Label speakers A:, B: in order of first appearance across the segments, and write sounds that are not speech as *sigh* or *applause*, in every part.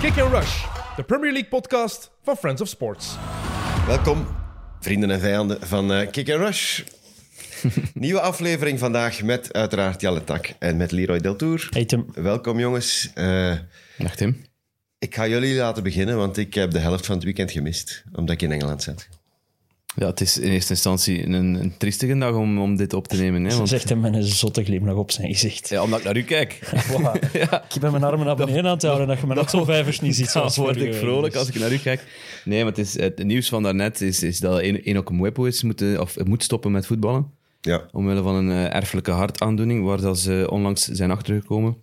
A: Kick and Rush, de Premier League podcast van Friends of Sports.
B: Welkom, vrienden en vijanden van eh, Kick and
C: *laughs*
B: Rush. Nieuwe aflevering vandaag met uiteraard Jelle Tak en met Leroy Deltour.
C: Eet hem.
B: Welkom jongens. Eh,
D: Dag Tim.
B: ik ga jullie laten beginnen, want ik heb de helft van het weekend gemist, omdat ik in Engeland zat.
D: Ja, het is in eerste instantie een, een triestige dag om, om dit op te nemen. Hè,
C: Ze
D: want,
C: zegt hem met een zotte glimlach op zijn gezicht. *laughs*
D: ja, omdat ik naar u kijk. *laughs*
C: Wow. Ik ben mijn armen naar beneden aan het houden dat je me net zo vijvers niet
D: *laughs*
C: ziet.
D: Dan
C: zoals
D: word
C: vorige
D: ik
C: week.
D: vrolijk als ik naar u kijk. Nee, maar het, is, het nieuws van daarnet is, is dat Eno- Enoch Mwepo is moeten, of moet stoppen met voetballen.
B: Ja,
D: Omwille van een eh, erfelijke hartaandoening, waar dat ze onlangs zijn achtergekomen.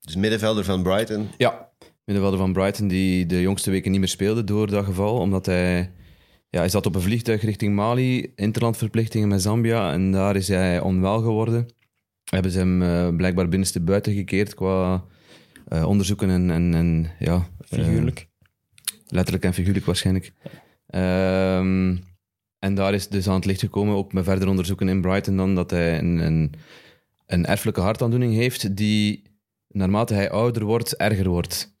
B: dus middenvelder van Brighton.
D: Ja. Middenvelder van Brighton, die de jongste weken niet meer speelde door dat geval. Omdat hij... Ja, hij zat op een vliegtuig richting Mali, interlandverplichtingen met Zambia. En daar is hij onwel geworden. Hebben ze hem eh, blijkbaar binnenste buiten gekeerd qua eh, onderzoeken en... en, en ja, eh,
C: Dus Figuurlijk.
D: letterlijk en figuurlijk waarschijnlijk. Ehm, en daar is dus aan het licht gekomen, ook met verder onderzoeken in Brighton, dan dat hij een, een, een erfelijke hartaandoening heeft die, naarmate hij ouder wordt, erger wordt.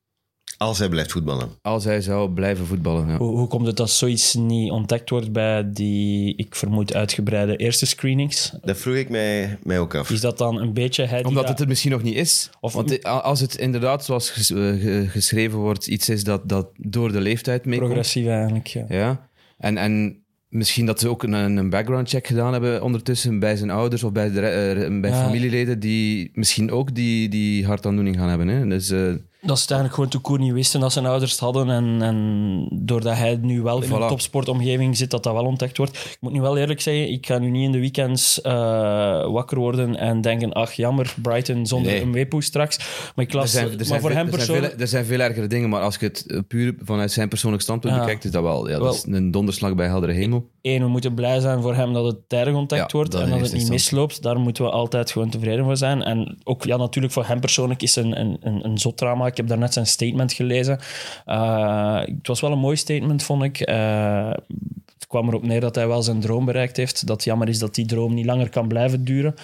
B: Als hij blijft voetballen.
D: Als hij zou blijven voetballen. Ja.
C: Hoe, hoe komt het dat zoiets niet ontdekt wordt bij die, ik vermoed, uitgebreide eerste screenings?
B: Dat vroeg ik mij, mij ook af.
C: Is dat dan een beetje... hij die
D: Omdat
C: dat-
D: het er misschien nog niet is.
C: Of-
D: Want i- a- als het inderdaad, zoals ges- eh, ge- geschreven wordt, iets is dat, dat door de leeftijd meekomt,
C: Progressief eigenlijk, ja.
D: Ja. En, en misschien dat ze ook een, een background check gedaan hebben ondertussen bij zijn ouders of bij, de, re- eh, bij
C: Ja.
D: familieleden die misschien ook die, die hartaandoening gaan hebben. Hè? Dus eh,
C: Dat ze het eigenlijk gewoon te koer niet wisten dat zijn ouders het hadden. En, en doordat hij nu wel in
D: Voilà.
C: een topsportomgeving zit, dat dat wel ontdekt wordt. Ik moet nu wel eerlijk zeggen, ik ga nu niet in de weekends eh, wakker worden en denken, ach jammer, Brighton zonder
D: Nee.
C: een weepoe straks. Maar, ik las,
D: er, zijn, er, zijn
C: maar voor
D: veel-
C: hem
D: er, zijn
C: persoonlijk...
D: veel, er zijn veel ergere dingen, maar als je het eh, puur vanuit zijn persoonlijk standpunt
C: Ja.
D: bekijkt, is dat wel, ja, dat
C: Wel.
D: is een donderslag bij heldere hemel.
C: Eén, we moeten blij zijn voor hem dat het tijdig ontdekt
D: Ja,
C: wordt
D: dat
C: en
D: in
C: dat het
D: eerste
C: niet
D: instantie.
C: misloopt. Daar moeten we altijd gewoon tevreden voor zijn. En ook, ja, natuurlijk voor hem persoonlijk is een, een, een, een zot drama. Ik heb daarnet zijn statement gelezen. Eh, het was wel een mooi statement, vond ik. Eh, het kwam erop neer dat hij wel zijn droom bereikt heeft. Dat het jammer is dat die droom niet langer kan blijven duren.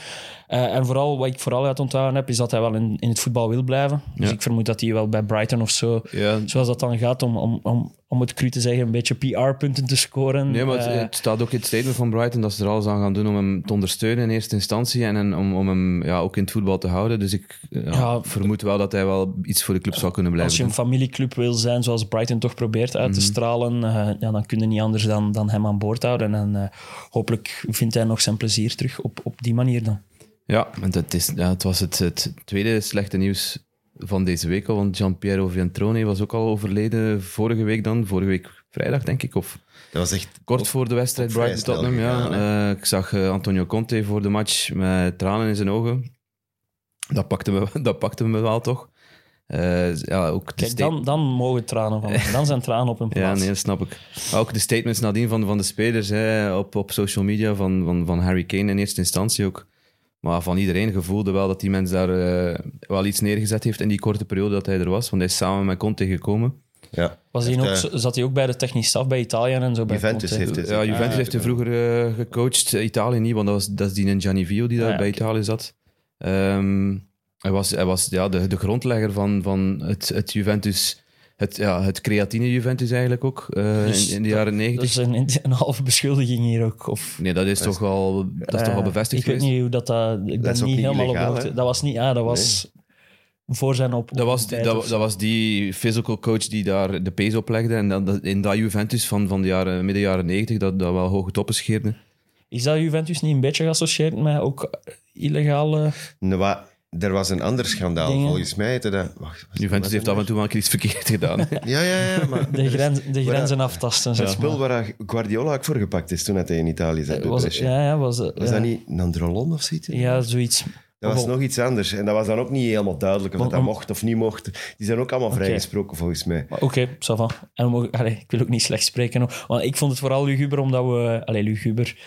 C: Eh, en vooral, wat ik vooral uit onthouden heb, is dat hij wel in, in het voetbal wil blijven. Dus
D: Ja.
C: ik vermoed dat hij wel bij Brighton of zo,
D: Ja.
C: zoals dat dan gaat, om, om, om, om het cru te zeggen, een beetje PR-punten te scoren.
D: Nee, maar het,
C: Eh,
D: het staat ook in het statement van Brighton dat ze er alles aan gaan doen om hem te ondersteunen in eerste instantie en, en om, om hem ja, ook in het voetbal te houden. Dus ik eh, ja,
C: Ja.
D: vermoed wel dat hij wel iets voor de club zou kunnen blijven
C: Als je
D: doen. Mhm.
C: een familieclub wil zijn, zoals Brighton toch probeert uit te stralen, eh, ja, dan kun je niet anders dan, dan hem aan boord houden. En eh, hopelijk vindt hij nog zijn plezier terug op, op die manier dan.
D: Dus Ja, want het, is, ja, het was het, het tweede slechte nieuws van deze week al. Want Gian-Piero Ventrone was ook al overleden vorige week dan. Vorige week vrijdag, denk ik. Of
B: Dat was echt...
D: kort voor de wedstrijd
B: Op vrij
D: Brighton-Tottenham.
B: snel
D: Ja.
B: gegaan,
D: Eh, ik zag eh, Antonio Conte voor de match met tranen in zijn ogen. Dat pakte me, *laughs* dat pakte me wel toch. Eh, ja, ook de
C: Kijk,
D: sta-
C: dan, dan mogen tranen van.
D: *laughs*
C: hem. Dan zijn tranen op hun
D: ja,
C: plaats.
D: nee, dat snap ik. Maar Ook de statements nadien van, van de spelers hè, op, op social media, van, van, van Harry Kane in eerste instantie ook. Maar van iedereen gevoelde wel dat die mens daar eh, wel iets neergezet heeft in die korte periode dat hij er was. Want hij is samen met Conte gekomen.
B: Ja.
C: Was hij
B: Echt,
C: ook,
B: eh,
C: zo- zat hij ook bij de technisch staf bij Italië en zo bij
B: Juventus
C: Conte?
B: heeft het.
D: Ja, Juventus heeft hij vroeger eh, gecoacht. Eh, Italië niet, want dat, was, dat is die Gianivio die daar
C: Ah, ja,
D: bij
C: oké.
D: Italië zat. Ehm, hij was, hij was ja, de, de grondlegger van, van het, het Juventus... Het, ja, het creatine Juventus eigenlijk ook, eh,
C: Dus
D: in, in de
C: dat-
D: jaren
C: Dat
D: negentig.
C: is een, een halve beschuldiging hier ook. Of,
D: Nee, dat is, toch, al, dat is toch al
C: eh,
D: bevestigd
C: Ik weet
D: geweest?
C: niet hoe dat... dat ik ben
B: is ook
C: niet
B: niet
C: helemaal
B: illegaal,
C: op de hoogte.
B: hè?
C: Dat was niet... Ja, dat was voor zijn op...
D: Dat was, die,
C: tijd of
D: dat,
C: zo.
D: dat was die physical coach die daar de pees op legde. En dat, dat- in dat Juventus van, van de jaren, midden jaren 90 dat, dat wel hoge toppen scheerde.
C: Is dat Juventus niet een beetje geassocieerd met ook illegale...
B: Nou, wa- er was een ander schandaal,
C: Dingen.
B: volgens mij. heette Dat... Wacht, was-
D: Juventus heeft af en toe wel een keer iets verkeerd *laughs*
C: *laughs*
D: gedaan.
B: Ja, ja, ja, maar...
C: De, gren- de grenzen aftasten,
B: Het
C: zeg
B: spul
C: maar.
B: waar Guardiola ook voor gepakt is toen hij in Italië zat bij
C: Was,
B: Brescia.
C: ja, ja, was, eh,
B: Was
C: ja.
B: dat niet Nandrolon of zoiets?
C: Ja, zoiets. Oh,
B: Dat was
C: Bon.
B: nog iets anders. En dat was dan ook niet helemaal duidelijk of dat, dat
C: om-
B: mocht of niet mocht. Die zijn ook allemaal vrijgesproken, volgens mij.
C: Maar Oké, ça va. En we mogen- allee, ik wil ook niet slecht spreken. hoor. Want ik vond het vooral luguber, omdat we... Allee, luguber.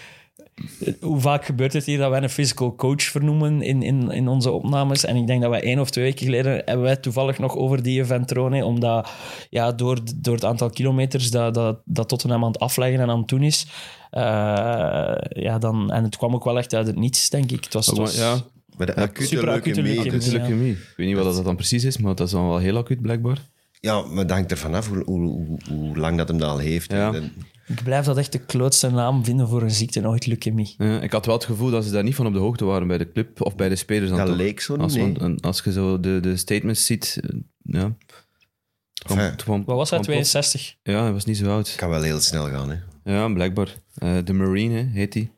C: Eh, Hoe vaak gebeurt het hier dat wij een physical coach vernoemen in, in, in onze opnames? En ik denk dat wij één of twee weken geleden hebben wij het toevallig nog over die Ventrone, omdat ja, door, door het aantal kilometers dat, dat, dat Tottenham aan het afleggen en aan het doen is, eh, ja, dan, en het kwam ook wel echt uit het niets, denk ik. Het was, het was-
D: ja,
B: Maar de acute
C: superacute
B: leukemie...
C: leukemie.
B: dus-
D: acute
C: Ja.
D: leukemie. Ik weet niet wat dat dan precies is, maar dat is dan wel heel acuut blijkbaar.
B: Ja, maar dat hangt er vanaf hoe, hoe, hoe, hoe lang dat hem dat al heeft.
D: Ja.
B: En-
C: Ik blijf dat echt de klootste naam vinden voor een ziekte, nooit leukemie.
D: Ja, Eh, ik had wel het gevoel dat ze daar niet van op de hoogte waren bij de club of bij de spelers. dan
B: Dat
D: toch.
B: leek zo niet,
D: Als,
B: nee.
D: want- als je zo de, de statements ziet, eh, ja. Het kwam-
B: Enfin,
D: het kwam-
C: Wat was hij,
D: kwam plots.
C: 62?
D: Ja, hij was niet zo oud.
B: kan wel heel snel gaan, hè.
D: Ja, blijkbaar. Eh, de Marine hè, heet hij.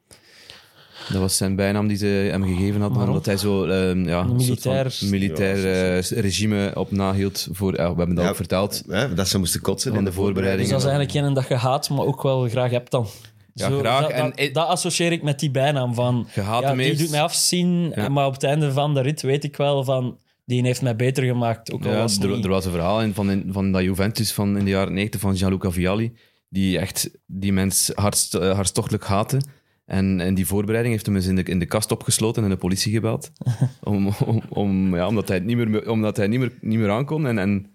D: Dat was zijn bijnaam die ze hem gegeven hadden,
C: Waarom?
D: omdat hij zo ehm, ja, een soort van
C: Militair-
D: militair eh, regime op nahield. Voor, ja, we hebben dat
B: Ja.
D: ook verteld.
B: Hè, Dat ze moesten kotsen
D: Van
B: in
D: de
B: de voorbereiding.
C: Dus dat is eigenlijk een dat je haat, maar ook wel graag hebt dan.
D: Ja, graag.
C: Dat,
D: En
C: dat,
D: i-
C: dat associeer ik met die bijnaam van...
D: Je haat
C: ja,
D: hem
C: die
D: eerst.
C: doet mij afzien,
D: Ja.
C: maar op het einde van de rit weet ik wel van... Die heeft mij beter gemaakt, ook al
D: Ja,
C: was het
D: er,
C: niet.
D: er was een verhaal in, van, in- van dat Juventus van in de jaren 90 van Gianluca Vialli, die echt die mens hartst, eh, hartstochtelijk haatte. En in die voorbereiding heeft hem eens in de, in de kast opgesloten en de politie
C: *laughs*
D: gebeld. Om, om, om- ja, omdat hij het niet meer, me- omdat hij niet meer, niet meer aankon. En, en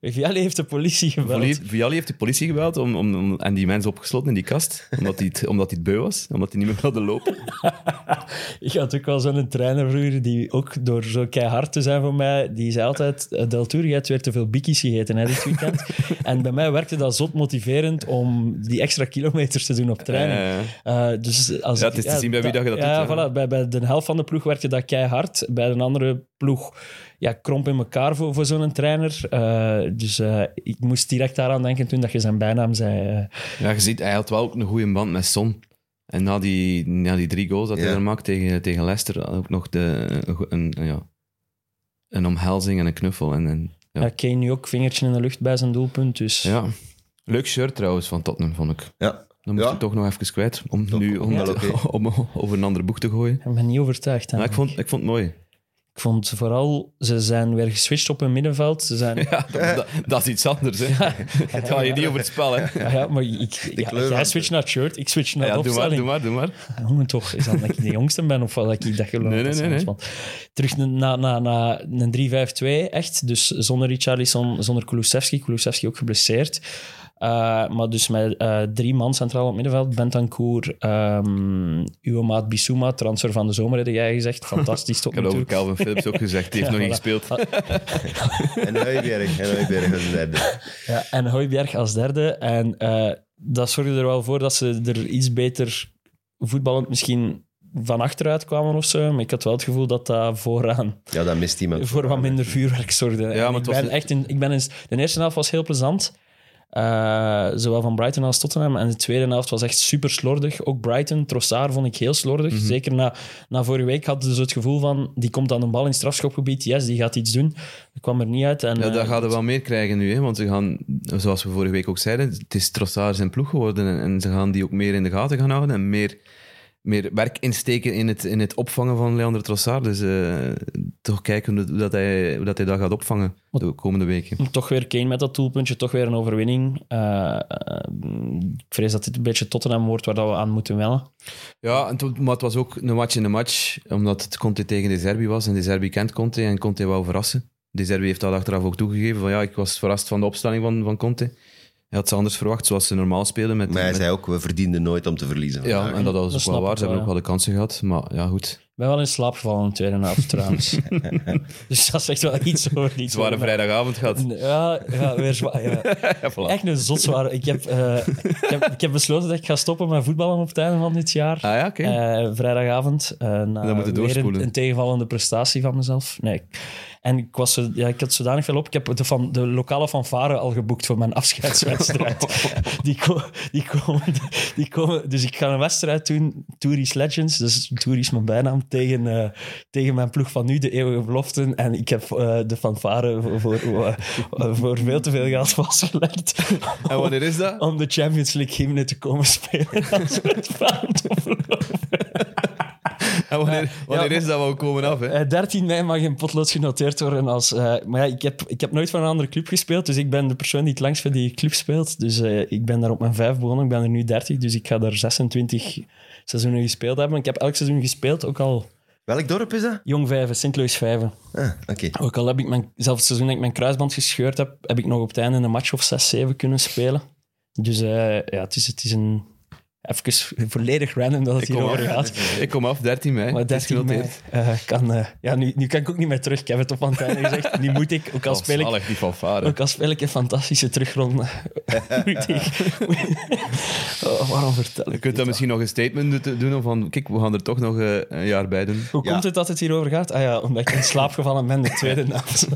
C: Vialli heeft de politie gebeld.
D: Vialli- Vialli heeft de politie gebeld om, om, om- en die mens opgesloten in die kast. Omdat hij het, omdat hij het beu was, omdat hij niet meer wilde lopen.
C: Ik had ook wel zo'n trainer vroeger, die ook door zo keihard te zijn voor mij, die zei altijd, eh, Del Turri heeft weer te veel bikkies gegeten hè, dit
D: *laughs*
C: weekend. en bij mij werkte dat zot motiverend om die extra kilometers te doen op *laughs* training.
D: Ja, ja,
C: Eh, dus als
D: Ja,
C: ik-
D: het is te zien bij wie dat je dat
C: ja,
D: doet, hè.
C: Voilà, bij, bij de helft van de ploeg werkte dat keihard. Bij de andere ploeg ja, kromp in elkaar voor, voor zo'n trainer. Eh, dus eh, ik moest direct daaraan denken toen dat je zijn bijnaam zei. eh.
D: Ja, je ziet, hij had wel ook een goede band met Son. En na die, na die drie goals dat hij
B: Ja.
D: er maakt tegen, tegen Leicester, ook nog de, een, een- ja, een omhelzing en een knuffel. En, en, ja.
C: Ja, Kane nu ook vingertje in de lucht bij zijn doelpunt. Dus
D: ja. Leuk shirt trouwens van Tottenham, vond ik.
B: Ja.
D: Dan moest
B: Ja.
D: ik toch nog even kwijt om,
B: Toch,
D: nu, om,
B: wel
D: het-
B: oké.
D: *laughs* om over een ander boek te gooien.
C: ik ben niet overtuigd.
D: Ja,
C: eigenlijk.
D: ik, vond, ik vond het mooi. *laughs*
C: Ik vond vooral, ze zijn weer geswitcht op hun middenveld. Ze zijn, ja.
D: *laughs* Ja, dat, dat, dat is iets anders. Hè. Het gaat je niet over het spel. Hè.
C: maar ik, ja,
B: kleur
C: jij
B: van-
C: switcht naar het shirt, ik switch naar
D: Ja,
C: de
D: doe maar,
C: opstelling. Ah,
D: doe maar, doe maar.
C: Jongen, toch, is dat dat ik de jongste ben of wat dat ik dat geloof?
D: Nee, nee,
C: Dat is
D: nee,
C: anders,
D: nee.
C: want Terug na, na, na een 3-5-2, echt. Dus zonder Richarlison, zonder Kulusevski. Kulusevski ook geblesseerd. Eh, maar dus met eh, drie man centraal op het middenveld. Bentancur, ehm uw maat Bissouma, transfer van de zomer, heb jij gezegd. Fantastisch tot
D: *laughs* Ik
C: nu
D: had
C: toe.
D: over Calvin Phillips ook gezegd, die heeft
C: Ja,
D: nog niet
C: voilà.
D: gespeeld.
B: En Huiberg, en Huiberg was de derde.
C: Ja, en Hooiberg als derde. En eh, dat zorgde er wel voor dat ze er iets beter voetballend misschien van achteruit kwamen of zo. Maar ik had wel het gevoel dat dat vooraan
B: Ja, dat mist iemand.
C: voor wat minder vuurwerk zorgde. En
D: maar
C: ik
D: het was
C: ben
D: een-
C: echt in, ik ben eens, de eerste helft was heel plezant. Eh, zowel van Brighton als Tottenham. En de tweede helft was echt super slordig. Ook Brighton, Trossard vond ik heel slordig.
D: Mhm.
C: Zeker na, na vorige week hadden ze dus het gevoel van... die komt aan de bal in het strafschopgebied. Yes, die gaat iets doen. Dat kwam er niet uit. En,
D: Ja,
C: eh,
D: daar gaan we wel meer krijgen nu, hè? want ze gaan, zoals we vorige week ook zeiden, het is Trossard zijn ploeg geworden en, en ze gaan die ook meer in de gaten gaan houden en meer, meer werk insteken in het, in het opvangen van Leander Trossard. Dus eh, toch kijken hoe, dat hij, hoe dat hij dat gaat opvangen de komende weken.
C: Toch weer Kane met dat doelpuntje, toch weer een overwinning. Eh, eh, ik vrees dat dit een beetje Tottenham wordt waar dat we aan moeten wennen.
D: Ja, en toen, maar het was ook een match in de match, omdat het Conte tegen De Zerbi was en De Zerbi kent Conte en Conte wou verrassen. De Zerbi heeft dat achteraf ook toegegeven, van ja, ik was verrast van de opstelling van, van Conte. Hij had ze anders verwacht, zoals ze normaal spelen met,
B: Maar hij
D: met-
B: zei ook, we verdienden nooit om te verliezen
D: Ja,
B: vandaag.
D: en dat was
C: Dat
D: ook
C: snap
D: wel
C: ik
D: waar. Ze
C: wel,
D: hebben
C: ja.
D: ook wel de kansen gehad. Maar ja, goed.
C: Ik ben wel in slaap gevallen in de tweede helft trouwens. dus dat zegt wel iets over die
D: Zware
C: tweede
D: vrijdagavond gehad.
C: helft. Ja, ja, weer zwaar. Ja.
D: *laughs*
C: Echt een zot zware. Ik heb, eh, ik, heb, ik heb besloten dat ik ga stoppen met voetballen op het einde van dit jaar.
D: Ah ja, oké.
C: Eh, vrijdagavond. eh, na
D: Dan moet je
C: weer
D: doorspoelen.
C: een, een tegenvallende prestatie van mezelf. Nee. En ik, was, zo- ja, ik had zodanig veel op. Ik heb de, van, de lokale fanfare al geboekt voor mijn *laughs*
D: *laughs*
C: afscheidswedstrijd. die, ko- die, komen, die komen. Dus ik ga een wedstrijd doen. Tourist Legends. Dus Tourist mijn bijnaam. Tegen, eh, tegen mijn ploeg van nu, de eeuwige beloften. En ik heb eh, de fanfare voor, voor,
D: *laughs*
C: eh, voor veel te veel geld vastgelegd.
D: En wanneer is
C: *laughs*
D: dat?
C: om de Champions League hymne te komen spelen. Als we het Vlaanderen verloren.
D: En wanneer, wanneer is dat? We komen af, hè?
C: Eh, 13 mei mag in potlood genoteerd worden als... eh, maar ja, ik heb, ik heb nooit van een andere club gespeeld, dus ik ben de persoon die het langst voor die club speelt. Dus eh, ik ben daar op mijn vijf begonnen, ik ben er nu 30, dus ik ga daar 26 seizoenen gespeeld hebben. Ik heb elk seizoen gespeeld, ook al
B: Welk dorp is dat?
C: jong vijven, Sint-Louis vijven.
B: Ah, oké.
C: Ook al heb ik mijn, zelfs het seizoen dat ik mijn kruisband gescheurd heb, heb ik nog op het einde een match of 6, 7 kunnen spelen. Dus eh, ja, het is, het is een Even volledig random dat het
D: kom
C: hierover
D: af.
C: gaat.
D: Ik kom af, 13 mei.
C: Maar
D: Het is
C: 13 mei,
D: genoteerd.
C: eh, kan... eh, ja, nu, nu kan ik ook niet meer terug. Ik heb het op antenne gezegd. Nu moet ik, ook al
D: Oh,
C: speel ik
D: zalig, die fanfare.
C: Ook al speel ik een fantastische terugronde. *laughs* Moet ik- oh, waarom vertel
D: Je
C: ik?
D: kunt dan misschien nog een statement do- doen van, kijk, we gaan er toch nog eh, een jaar bij doen.
C: Hoe
B: Ja.
C: komt het dat het hierover gaat? Ah ja, omdat ik in slaap gevallen ben de
D: *laughs*
C: tweede nacht.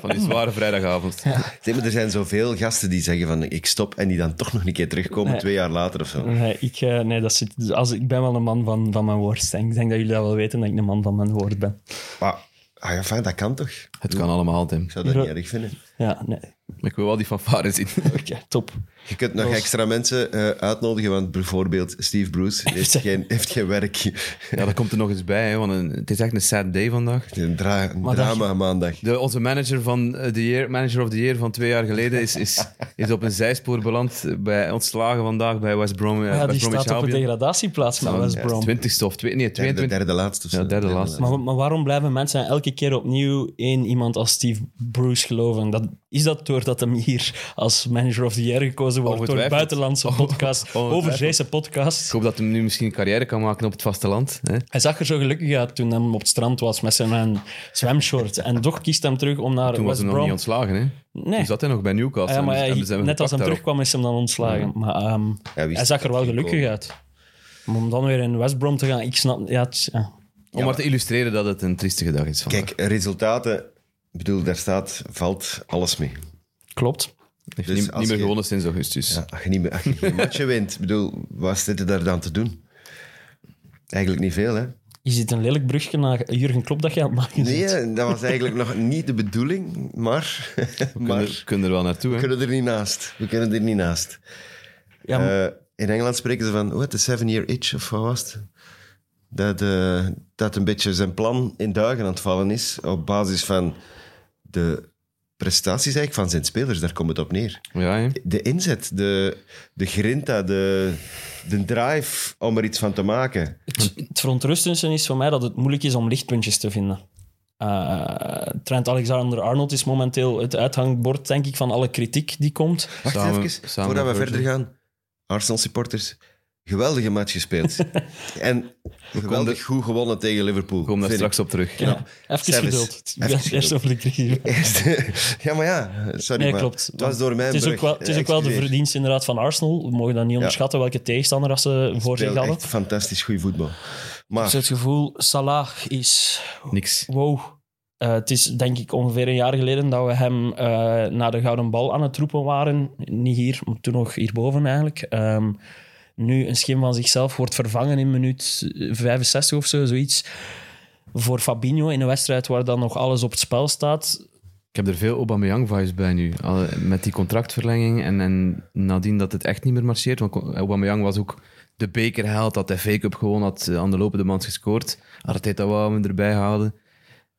D: Van die zware vrijdagavond.
B: Zeg maar, er zijn zoveel gasten die zeggen van ik stop en die dan toch nog een keer terugkomen
C: Nee.
B: twee jaar later of zo.
C: Nee, ik, eh, nee dat zit, dus als, ik ben wel een man van, van mijn woord. denk. Ik denk dat jullie dat wel weten, dat ik een man van mijn woord ben.
B: Maar ah, ja, fijn, dat kan toch?
D: Het kan allemaal, Tim.
B: Ik zou dat
C: Ja.
B: niet erg vinden.
C: Ja, nee. *laughs*
D: Ik wil wel die fanfare zien.
C: Oké, top.
B: Je kunt nog
C: Los.
B: extra mensen eh, uitnodigen, want bijvoorbeeld Steve
D: *laughs*
B: Bruce heeft geen, heeft geen werk.
D: Ja, dat komt er nog eens bij, hè, want een- het is echt een sad day vandaag.
B: Een, dra- een
C: Maar dat-
B: drama maandag.
D: De, onze manager, van eh, de year, manager of the year van twee jaar geleden is, is, is op een zijspoor beland bij ontslagen vandaag bij West Brom. eh,
C: Ah ja, die
D: West Bromwich
C: staat op een
D: Albion.
C: degradatieplaats van West
D: Ja,
C: Brom.
D: 20ste of twee, nee,
B: Derde,
D: 22.
B: derde laatste. of zo.
D: Ja, derde laatste.
C: Maar, maar waarom blijven mensen elke keer opnieuw in iemand als Steve Bruce geloven? Dat, is dat doordat hem hier als manager of the year gekozen wordt door een
D: Ongetwijfeld.
C: buitenlandse podcast,
D: ongetwijfeld.
C: over deze
D: Ik
C: podcast?
D: hoop dat hij nu misschien een carrière kan maken op het vasteland. Hè?
C: Hij zag er zo gelukkig uit toen hij op het strand was met zijn eh, zwemshort. En toch kiest hem terug om naar
D: Toen was
C: West
D: hij nog niet
C: Brom.
D: ontslagen. Hè?
C: Nee,
D: Toen zat hij nog bij Newcastle.
C: Ah ja, maar
D: en
C: hij-
D: hebben ze hem
C: net als hij
D: gepakt daarop. Mm-hmm.
C: terugkwam is hem dan ontslagen. Maar ehm,
B: wist
C: hij zag er
B: dat
C: wel
B: ging
C: gelukkig
B: komen.
C: uit. Maar om dan weer in West Brom te gaan, ik snap... Ja, het is- ja.
D: Om maar te illustreren dat het een triestige dag is. Vandaag.
B: Kijk, resultaten. Ik bedoel, daar staat, valt alles mee.
C: Klopt.
D: Heeft
B: dus
D: niet,
B: als
D: niet meer
B: je-
D: gewonnen sinds augustus.
B: Ja, als je niet meer- als je
D: *laughs*
B: geen matchen wint, ik bedoel, wat zit er daar dan te doen? Eigenlijk niet veel, hè?
C: Is dit een lelijk brugje naar Jurgen Klopp dat je aan het maken bent?
B: Nee,
D: eh,
B: hè, dat was eigenlijk nog niet de bedoeling, maar,
D: We
B: *laughs* maar
D: kunnen, kunnen er wel naartoe.
B: we
D: Hè?
B: kunnen er niet naast. We kunnen er niet naast.
C: Ja, maar-
B: Eh, in Engeland spreken ze van, oh, de seven-year itch, of wat was het? Dat, eh, dat een beetje zijn plan in duigen aan het vallen is, op basis van de prestaties eigenlijk van zijn spelers. Daar komt het op neer.
D: Ja, hè.
B: De inzet, de, de grinta, de, de drive om er iets van te maken.
C: Het, het verontrustendste is voor mij dat het moeilijk is om lichtpuntjes te vinden. Eh, Trent Alexander-Arnold is momenteel het uithangbord, denk ik, van alle kritiek die komt.
B: Wacht
D: Samen-
B: even,
D: samen
B: voordat we
D: voor-
B: verder gaan. Arsenal supporters, geweldige match
D: *laughs*
B: gespeeld. en geweldig goed gewonnen tegen Liverpool.
D: Ik kom daar
B: vind ik.
D: straks op terug.
C: Ja, even
B: Service.
C: geduld. Ik
B: Even
C: ben eerst over de kritiek.
B: Eerst- *laughs* ja, maar ja, sorry.
C: Nee,
B: maar
C: klopt.
B: Het was door mijn
C: Het is ook
B: brug.
C: wel, het is ook wel de
B: Excuseer.
C: verdienst inderdaad van Arsenal. We mogen dat niet onderschatten welke tegenstander als ze voor zich
B: Speelt
C: hadden.
B: echt fantastisch goed voetbal.
C: Ik
B: Maar
C: heb Dus het gevoel, Salah is
D: Niks.
C: Wow. Eh, het is denk ik ongeveer een jaar geleden dat we hem eh, naar de Gouden Bal aan het roepen waren. Niet hier, maar toen nog hierboven eigenlijk. Ehm, nu een schim van zichzelf wordt vervangen in minuut eh, 65 of zo, zoiets. Voor Fabinho in een wedstrijd waar dan nog alles op het spel staat.
D: Ik heb er veel Aubameyang-vibes bij nu. Al- Met die contractverlenging en, en nadien dat het echt niet meer marcheert. Want Aubameyang was ook de bekerheld, had de fake-up gewoon, had eh, aan de lopende man gescoord. Arteta wou hem erbij houden.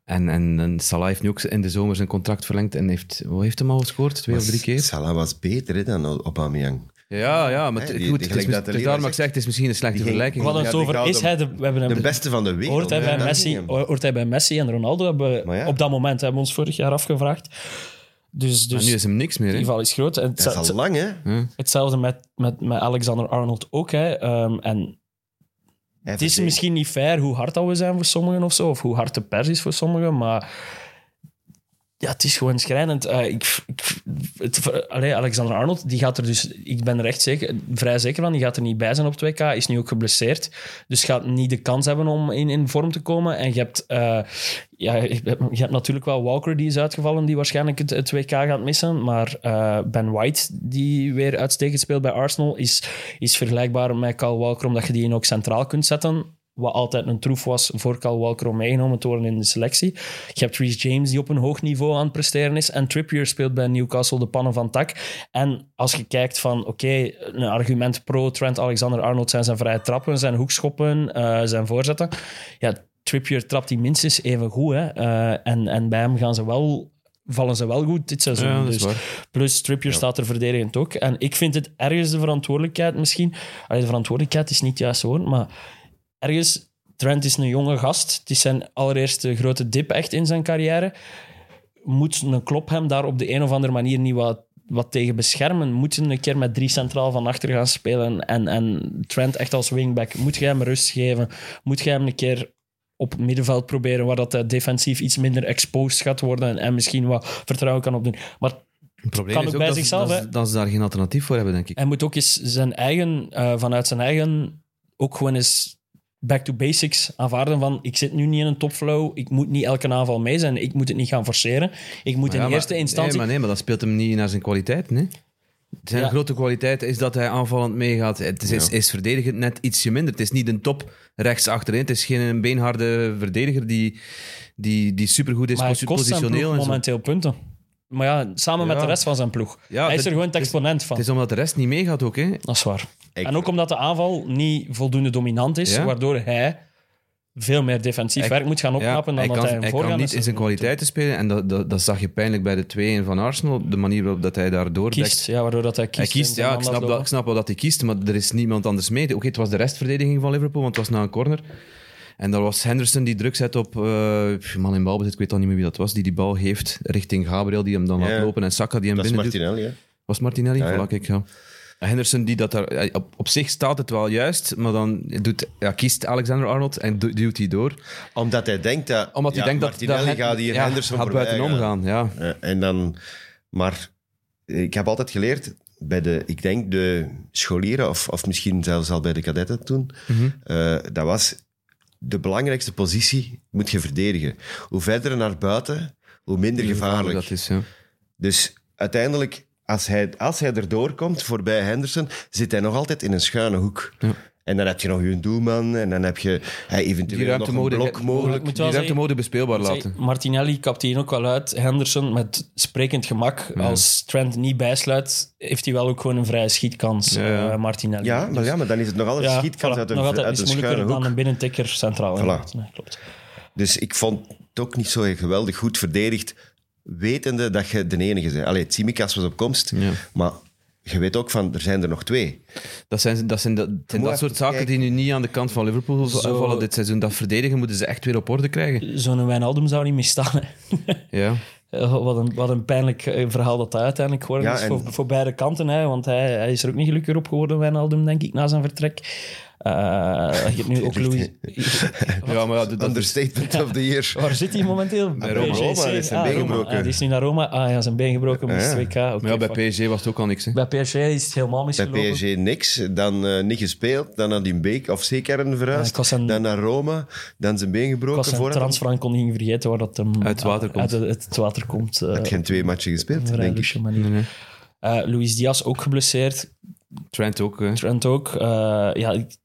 D: En, en, en Salah heeft nu ook in de zomer zijn contract verlengd en heeft... Wat heeft hem al gescoord? Twee of drie keer?
B: Salah was beter hè, dan Aubameyang.
D: Ja, ja, maar
B: Hè,
D: t-
B: die-
D: goed,
B: die
D: het is,
B: gelijk dat de
D: het is
B: Lira
D: daarom dat
B: zegt.
D: ik zeg, het is misschien een slechte
B: Die ging-
D: vergelijking.
C: We hadden
B: Ja,
C: het
B: de
C: over,
B: Gouden-
C: is hij de... We hebben hem
B: De beste van de wereld.
C: Hoort hij,
B: hè,
C: bij
B: dat
C: Messi,
B: ging hem.
C: hoort hij bij Messi en Ronaldo? Hebben,
B: Maar ja.
C: Op dat moment hebben we ons vorig jaar afgevraagd. Dus,
D: Maar
C: dus
D: nu is hem niks meer,
C: het
D: hè?
C: geval is groot. En het
B: Dat
C: zou-
B: is al lang, hè?
C: Hetzelfde met, met, met Alexander Arnold ook. Hè. Ehm, en het is misschien niet fair hoe hard dat we zijn voor sommigen of zo, of hoe hard de pers is voor sommigen, maar ja, het is gewoon schrijnend. Eh, ik, ik, het, allee, Alexander Arnold, die gaat er dus, ik ben er echt zeker, vrij zeker van, die gaat er niet bij zijn op 2K, is nu ook geblesseerd, dus gaat niet de kans hebben om in, in vorm te komen. En je hebt, eh, ja, je hebt- je hebt natuurlijk wel Walker, die is uitgevallen, die waarschijnlijk het, het 2K gaat missen, maar eh, Ben White, die weer uitstekend speelt bij Arsenal, is, is vergelijkbaar met Kyle Walker, omdat je die in ook centraal kunt zetten wat altijd een troef was voor Cal Walker om meegenomen te worden in de selectie. Je hebt Reece James die op een hoog niveau aan het presteren is en Trippier speelt bij Newcastle de pannen van tak. En als je kijkt van, oké, een argument pro Trent Alexander-Arnold zijn zijn vrije trappen, zijn hoekschoppen, eh, zijn voorzetten. Ja, Trippier trapt die minstens even goed. Hè? Eh, en, en bij hem gaan ze wel, vallen ze wel goed dit seizoen.
D: Ja, dat is
C: Dus-
D: waar.
C: Plus Trippier staat er verdedigend ook. En ik vind het ergens de verantwoordelijkheid misschien. Allee, de verantwoordelijkheid is niet het juiste woord, maar ergens. Trent is een jonge gast. Het is zijn allereerste grote dip echt in zijn carrière. Moet een klop hem daar op de een of andere manier niet wat, wat tegen beschermen, moeten een keer met drie centraal van achter gaan spelen en, en Trent echt als wingback. Moet jij hem rust geven? Moet jij hem een keer op het middenveld proberen waar dat eh, defensief iets minder exposed gaat worden en, en misschien wat vertrouwen kan opdoen. Maar
D: Het probleem
C: Kan
D: is
C: ook
D: ook
C: bij
D: dat, ze-
C: zichzelf,
D: dat,
C: hè?
D: ze- dat ze daar geen alternatief voor hebben, denk ik.
C: Hij moet ook eens zijn eigen, eh, vanuit zijn eigen, ook gewoon eens back to basics aanvaarden van ik zit nu niet in een topflow, ik moet niet elke aanval mee zijn, ik moet het niet gaan forceren. Ik moet
D: Ja,
C: in
D: maar-
C: eerste instantie...
D: Nee, maar nee, maar dat speelt hem niet naar zijn kwaliteit, nee. Zijn
C: Ja.
D: grote kwaliteit is dat hij aanvallend meegaat. Het is, is, is verdedigend net ietsje minder. Het is niet een top rechts achterin. Het is geen beenharde verdediger die, die, die supergoed is
C: maar hij
D: posi-
C: kost zijn
D: positioneel.
C: ploeg
D: en zo.
C: momenteel punten. Maar ja, samen met
D: Ja.
C: de rest van zijn ploeg.
D: Ja,
C: hij is
D: dat-
C: er gewoon het
D: het is-
C: exponent van.
D: Het is omdat de rest niet meegaat ook, hè.
C: Dat is waar.
B: Ik-
C: en ook omdat de aanval niet voldoende dominant is,
D: Ja.
C: waardoor hij veel meer defensief
D: Hij-
C: werk moet gaan opknappen
D: hij
C: dan dat hij
D: kan,
C: hem
D: hij kan
C: voorgaande
D: niet in zijn
C: seizoen
D: kwaliteiten spelen. En dat, dat, dat zag je pijnlijk bij de 2-1 van Arsenal. De manier waarop dat hij daar doordekt.
C: kiest. Ja, waardoor dat hij
D: Hij
C: kiest.
D: kiest,
C: in
D: ja,
C: zijn
D: ik snap, dat, ik
C: aanlopen.
D: snap wel dat hij kiest, maar er is niemand anders mee. Oké, het was de restverdediging van Liverpool, want het was na een corner. En daar was Henderson die druk zet op eh, man in balbezit, ik weet al niet meer wie dat was, die die bal heeft richting Gabriel, die hem dan
B: Ja.
D: laat lopen. En Saka die hem
B: Dat is
D: binnen doet.
B: Martinelli, hè?
D: Was Martinelli?
B: Ja, ja.
D: Voilà, kijk, ja. En Henderson die dat daar... eh, Op, op zich staat het wel juist, maar dan doet, ja, kiest Alexander-Arnold en du- duwt hij door.
B: Omdat hij denkt dat...
D: Omdat
B: ja,
D: hij denkt dat...
B: Martinelli
D: dat
B: gaat hier
D: ja,
B: Henderson
D: gaat
B: voorbij
D: buiten
B: gaan.
D: omgaan, ja.
B: Eh, en dan, maar ik heb altijd geleerd, bij de, ik denk de scholieren, of, of misschien zelfs al bij de kadetten toen, eh, dat was de belangrijkste positie moet je verdedigen. Hoe verder naar buiten, hoe minder gevaarlijk.
D: Dat is, ja.
B: Dus uiteindelijk, als hij, als hij erdoor komt, voorbij Henderson, zit hij nog altijd in een schuine hoek.
D: Ja.
B: En dan heb je nog je doelman, en dan heb je hij
D: Die
B: eventueel nog
D: ruimte
B: een
D: mogen-
B: blok mogelijk.
C: moet
D: Die
C: wel
D: ruimte
C: zeggen-
D: mogen bespeelbaar laten.
C: Zij- Martinelli kapt hier ook wel uit. Henderson met sprekend gemak. Als Trent niet bijsluit, heeft hij wel ook gewoon een vrije schietkans,
D: Ja, ja.
C: eh, Martinelli.
B: Ja, maar,
C: Dus-
B: ja, maar dan is het nog altijd
C: ja,
B: schietkans
C: voilà.
B: uit
C: Nog
B: een,
C: altijd
B: uit een
C: iets
B: schuine
C: moeilijker
B: hoek.
C: dan een binnentikker centraal.
B: Voilà.
C: inderdaad. Nee, klopt.
B: Dus ik vond het ook niet zo geweldig goed verdedigd, wetende dat je de enige bent. Allee, Tsimikas was op komst,
D: Ja.
B: maar je weet ook van, er zijn er nog twee.
D: Dat zijn, dat zijn, dat, het zijn
B: moet
D: dat soort
B: even
D: zaken die nu niet aan de kant van Liverpool
C: Zo-
D: vallen dit seizoen. Dat verdedigen moeten ze echt weer op orde krijgen.
C: Zo'n Wijnaldum zou niet meer staan. hè. *laughs*
D: Ja.
C: Eh, wat, een, wat een pijnlijk eh, verhaal dat dat uiteindelijk geworden
B: Ja,
C: is
B: en-
C: voor, voor beide kanten. Hè, want hij, hij is er ook niet gelukkiger op geworden, Wijnaldum, denk ik, na zijn vertrek. Eh, je
B: *laughs*
C: hebt nu ook Louis...
D: ja, maar ja, dat- dat is...
B: Understatement of
C: *laughs*
B: the year.
C: Waar zit hij momenteel?
B: Bij Roma.
C: PSV.
B: Roma, hij is zijn
C: Ah,
B: been
C: Roma.
B: gebroken.
C: Ah, die is nu naar Roma. Ah ja, zijn been gebroken, moest
B: Ja.
C: 2K. Oké,
D: Maar ja, bij
C: fuck.
D: PSG was het ook al niks. Hè.
C: Bij PSG is het helemaal
B: Bij
C: misgelopen.
B: PSG niks, dan eh, niet gespeeld, dan naar die Beek of Zeekern
C: Ja,
B: verhuisd,
C: ik was aan-
B: dan naar Roma, dan zijn been
C: Ik was
B: gebroken.
C: zijn
B: Voor
C: transfer kon niet vergeten waar dat hem eh,
D: Uit het water komt.
C: Uit het, uit het water komt. eh,
B: had geen twee matchen
C: op
B: gespeeld,
C: een vrij
B: denk ik.
C: luxe manier.
D: Nee,
C: Eh, Luis Diaz ook geblesseerd.
D: Trent ook. hè.
C: Trent ook. Eh, ja, het,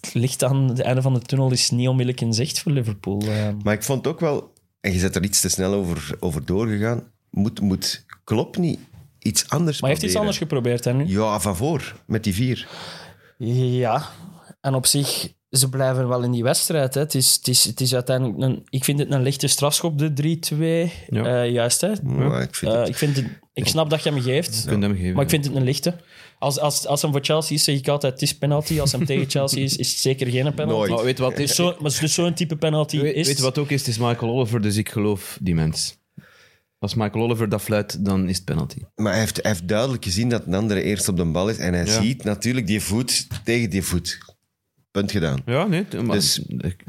C: het licht aan het einde van de tunnel is niet onmiddellijk in zicht voor Liverpool. Eh,
B: Maar ik vond ook wel, en je zet er iets te snel over, over doorgegaan, moet, moet klopt niet iets anders
C: maar hij heeft iets
B: proberen.
C: anders geprobeerd hè, nu.
B: Ja, van voor, met die vier.
C: Ja, en op zich, ze blijven wel in die wedstrijd. Hè. Het, is, het, is, het is uiteindelijk een, ik vind het een lichte strafschop, de 3-2.
D: Ja.
C: Eh, juist, hè?
B: Maar ik vind
C: Eh,
B: het-
C: ik, vind het, ik snap dat je hem geeft,
D: Je kunt hem geven.
C: maar ik vind het een lichte. Als, als, als hem voor Chelsea is, zeg ik altijd: het is penalty. Als hem tegen Chelsea is, is het zeker geen penalty.
B: Nooit.
D: Maar weet je wat het
C: Dus
D: is?
C: zo- maar dus zo'n type penalty
D: Weet,
C: is.
D: weet je wat ook is? Het is Michael Oliver, dus ik geloof die mens. Als Michael Oliver dat fluit, dan is het penalty.
B: Maar hij heeft, hij heeft duidelijk gezien dat een andere eerst op de bal is. En hij
D: Ja.
B: ziet natuurlijk die voet tegen die voet. Punt gedaan.
D: Ja, nee. t- Maar,
B: Dus-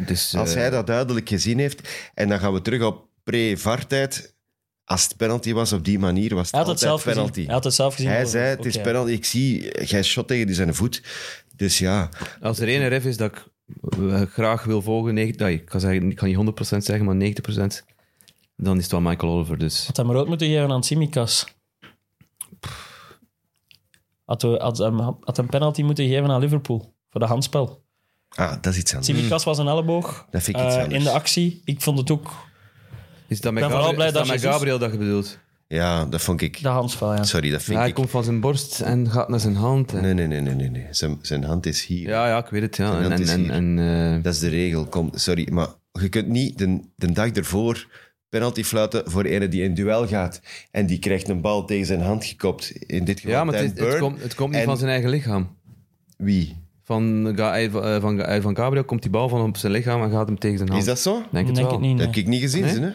D: dus,
B: Als
D: eh,
B: hij dat duidelijk gezien heeft, en dan gaan we terug op pre-vartijd. Als het penalty was op die manier, was het
C: Hij had het
B: altijd
C: zelf
B: penalty.
C: gezien. Hij had het zelf gezien.
B: Hij zei, het is
C: Oké.
B: penalty. Ik zie, jij shot tegen die zijn voet. Dus ja,
D: Als er één ref is dat ik eh, graag wil volgen, 90, nee, ik, kan zeggen, ik kan niet 100% zeggen, maar 90%, dan is het wel Michael Oliver. Dus.
C: Had hem rood moeten geven aan Simicas. Had, we- had, hem, had hem penalty moeten geven aan Liverpool voor de handspel.
B: ah, dat is iets anders.
C: Simicas was een elleboog
B: Dat vind ik iets
C: eh,
B: anders.
C: in de actie. Ik vond het ook
D: Is
C: ben
D: dat met,
C: vooral
D: Gabriel,
C: blij
D: is dat
C: dat
D: met
C: Jezus-
D: Gabriel dat je bedoelt?
B: Ja, dat vond ik...
C: de handspel. Ja.
B: Sorry, dat vind
D: Ja, hij
B: ik...
D: komt van zijn borst en gaat naar zijn hand. En...
B: Nee, nee, nee, nee, nee. nee. Zijn, zijn hand is hier.
D: Ja, ja, ik weet het. Ja. En,
B: hand
D: en,
B: is
D: en,
B: hier.
D: en, eh,
B: Dat is de regel. Kom, sorry, maar je kunt niet de, de dag ervoor penalty fluiten voor ene die in duel gaat. En die krijgt een bal tegen zijn hand gekopt. In dit geval
D: ja, maar het,
B: Dan
D: is- het
B: Burn.
D: komt, het komt niet
B: En-
D: van zijn eigen lichaam.
B: Wie?
D: Van, Ga- eh, van, eh, van, eh, van Gabriel komt die bal van op zijn lichaam en gaat hem tegen zijn hand.
B: Is dat zo?
D: Denk het
C: Denk
D: wel.
C: ik niet.
B: Dat
C: nee.
B: heb ik niet gezien.
D: Nee?
B: Hè?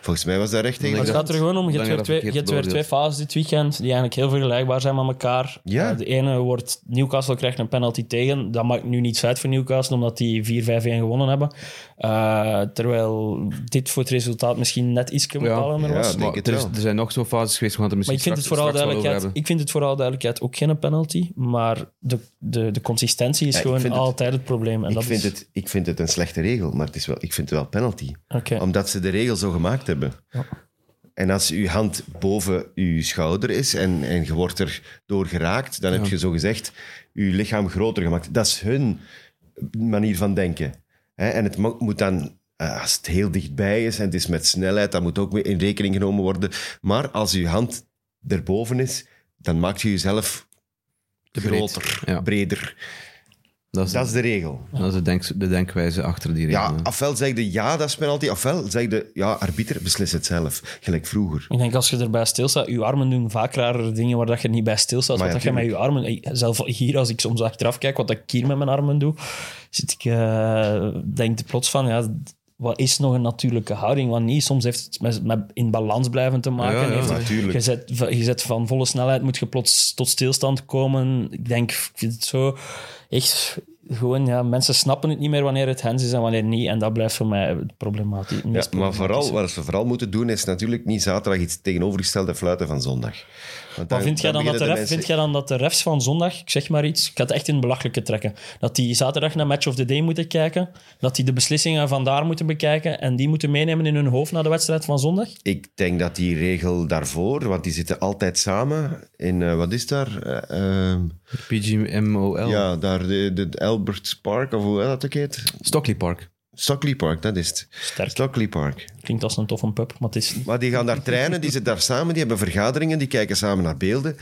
B: Volgens mij was dat recht tegen.
C: Het
D: Ik
C: gaat er
D: dacht,
C: gewoon om, je hebt
D: langer
C: weer
D: dat
C: twee, je
D: verkeerd
C: hebt weer twee
D: beoordeeld.
C: fases dit weekend die eigenlijk heel vergelijkbaar zijn met elkaar.
B: Ja.
C: Eh, De ene wordt, Newcastle krijgt een penalty tegen. Dat maakt nu niets uit voor Newcastle, omdat die 4-5-1 gewonnen hebben. Eh, terwijl dit voor het resultaat misschien net iets bepalender
B: ja,
C: was.
B: denk
D: Maar
B: het
D: er, is-
B: wel.
D: er zijn nog zo'n fases geweest, we gaan het er
C: Maar
D: misschien
C: ik vind, het
D: straks,
C: voor alle
D: straks wel over
C: duidelijkheid,
D: hebben.
C: ik vind het voor alle duidelijkheid ook geen penalty, maar de, de, de consistentie is
B: Ja, ik
C: gewoon
B: vind het-
C: altijd het probleem. En
B: Ik
C: dat
B: vind,
C: is,
B: het, ik vind het een slechte regel, maar het is wel, ik vind het wel penalty.
C: Oké.
B: Omdat ze de regel zo gemaakt hebben. En als uw hand boven uw schouder is en, en je wordt er door geraakt, dan heb je zo gezegd uw lichaam groter gemaakt. Dat is hun manier van denken. Hè, En het mo- moet dan, eh, als het heel dichtbij is en het is met snelheid, dat moet ook mee in rekening genomen worden. Maar als uw hand erboven is, dan maakt je jezelf
D: breed.
B: groter,
D: Ja.
B: breder.
D: Dat is,
B: Dat is de regel.
D: dat is de, denk, de denkwijze achter die regel.
B: Ja, ofwel zeg je ja, dat is penalty, ofwel zeg je ja, arbiter, beslis het zelf. Gelijk vroeger.
C: Ik denk als je erbij stilstaat, je armen doen vaak rarere dingen waar dat je niet bij stilstaat.
B: Maar
C: Want
B: ja,
C: dat je met je armen, ik- zelf hier, als ik soms achteraf kijk wat ik hier met mijn armen doe, zit ik, eh, denk ik plots van, ja, wat is nog een natuurlijke houding, wat niet? Soms heeft het met, met in balans blijven te maken.
D: Ja, ja,
C: Heeft-
B: natuurlijk.
C: Je zet, je zet van volle snelheid, moet je plots tot stilstand komen. Ik denk, ik vind het zo echt... Gewoon, ja, mensen snappen het niet meer wanneer het hens is en wanneer niet. En dat blijft voor mij problematisch.
B: Ja, maar vooral, wat ze vooral moeten doen, is natuurlijk niet zaterdag iets tegenovergestelde fluiten van zondag. Want
C: Maar vind jij, dan dat de
B: beginnen
C: ref,
B: mensen-
C: vind jij dan dat de refs van zondag, ik zeg maar iets, ik ga het echt in het belachelijke trekken, dat die zaterdag naar Match of the Day moeten kijken, dat die de beslissingen van daar moeten bekijken en die moeten meenemen in hun hoofd naar de wedstrijd van zondag?
B: Ik denk dat die regel daarvoor, want die zitten altijd samen in, eh, wat is daar? Eh, ehm,
D: PGMOL.
B: ja, daar, de, de Albert Park, of hoe dat ook heet?
D: Stockley Park.
B: Stockley Park, dat is het.
C: Sterk.
B: Stockley Park.
C: Klinkt als een toffe pub, maar het is...
B: Maar die gaan daar trainen, die zitten daar samen, die hebben vergaderingen, die kijken samen naar beelden.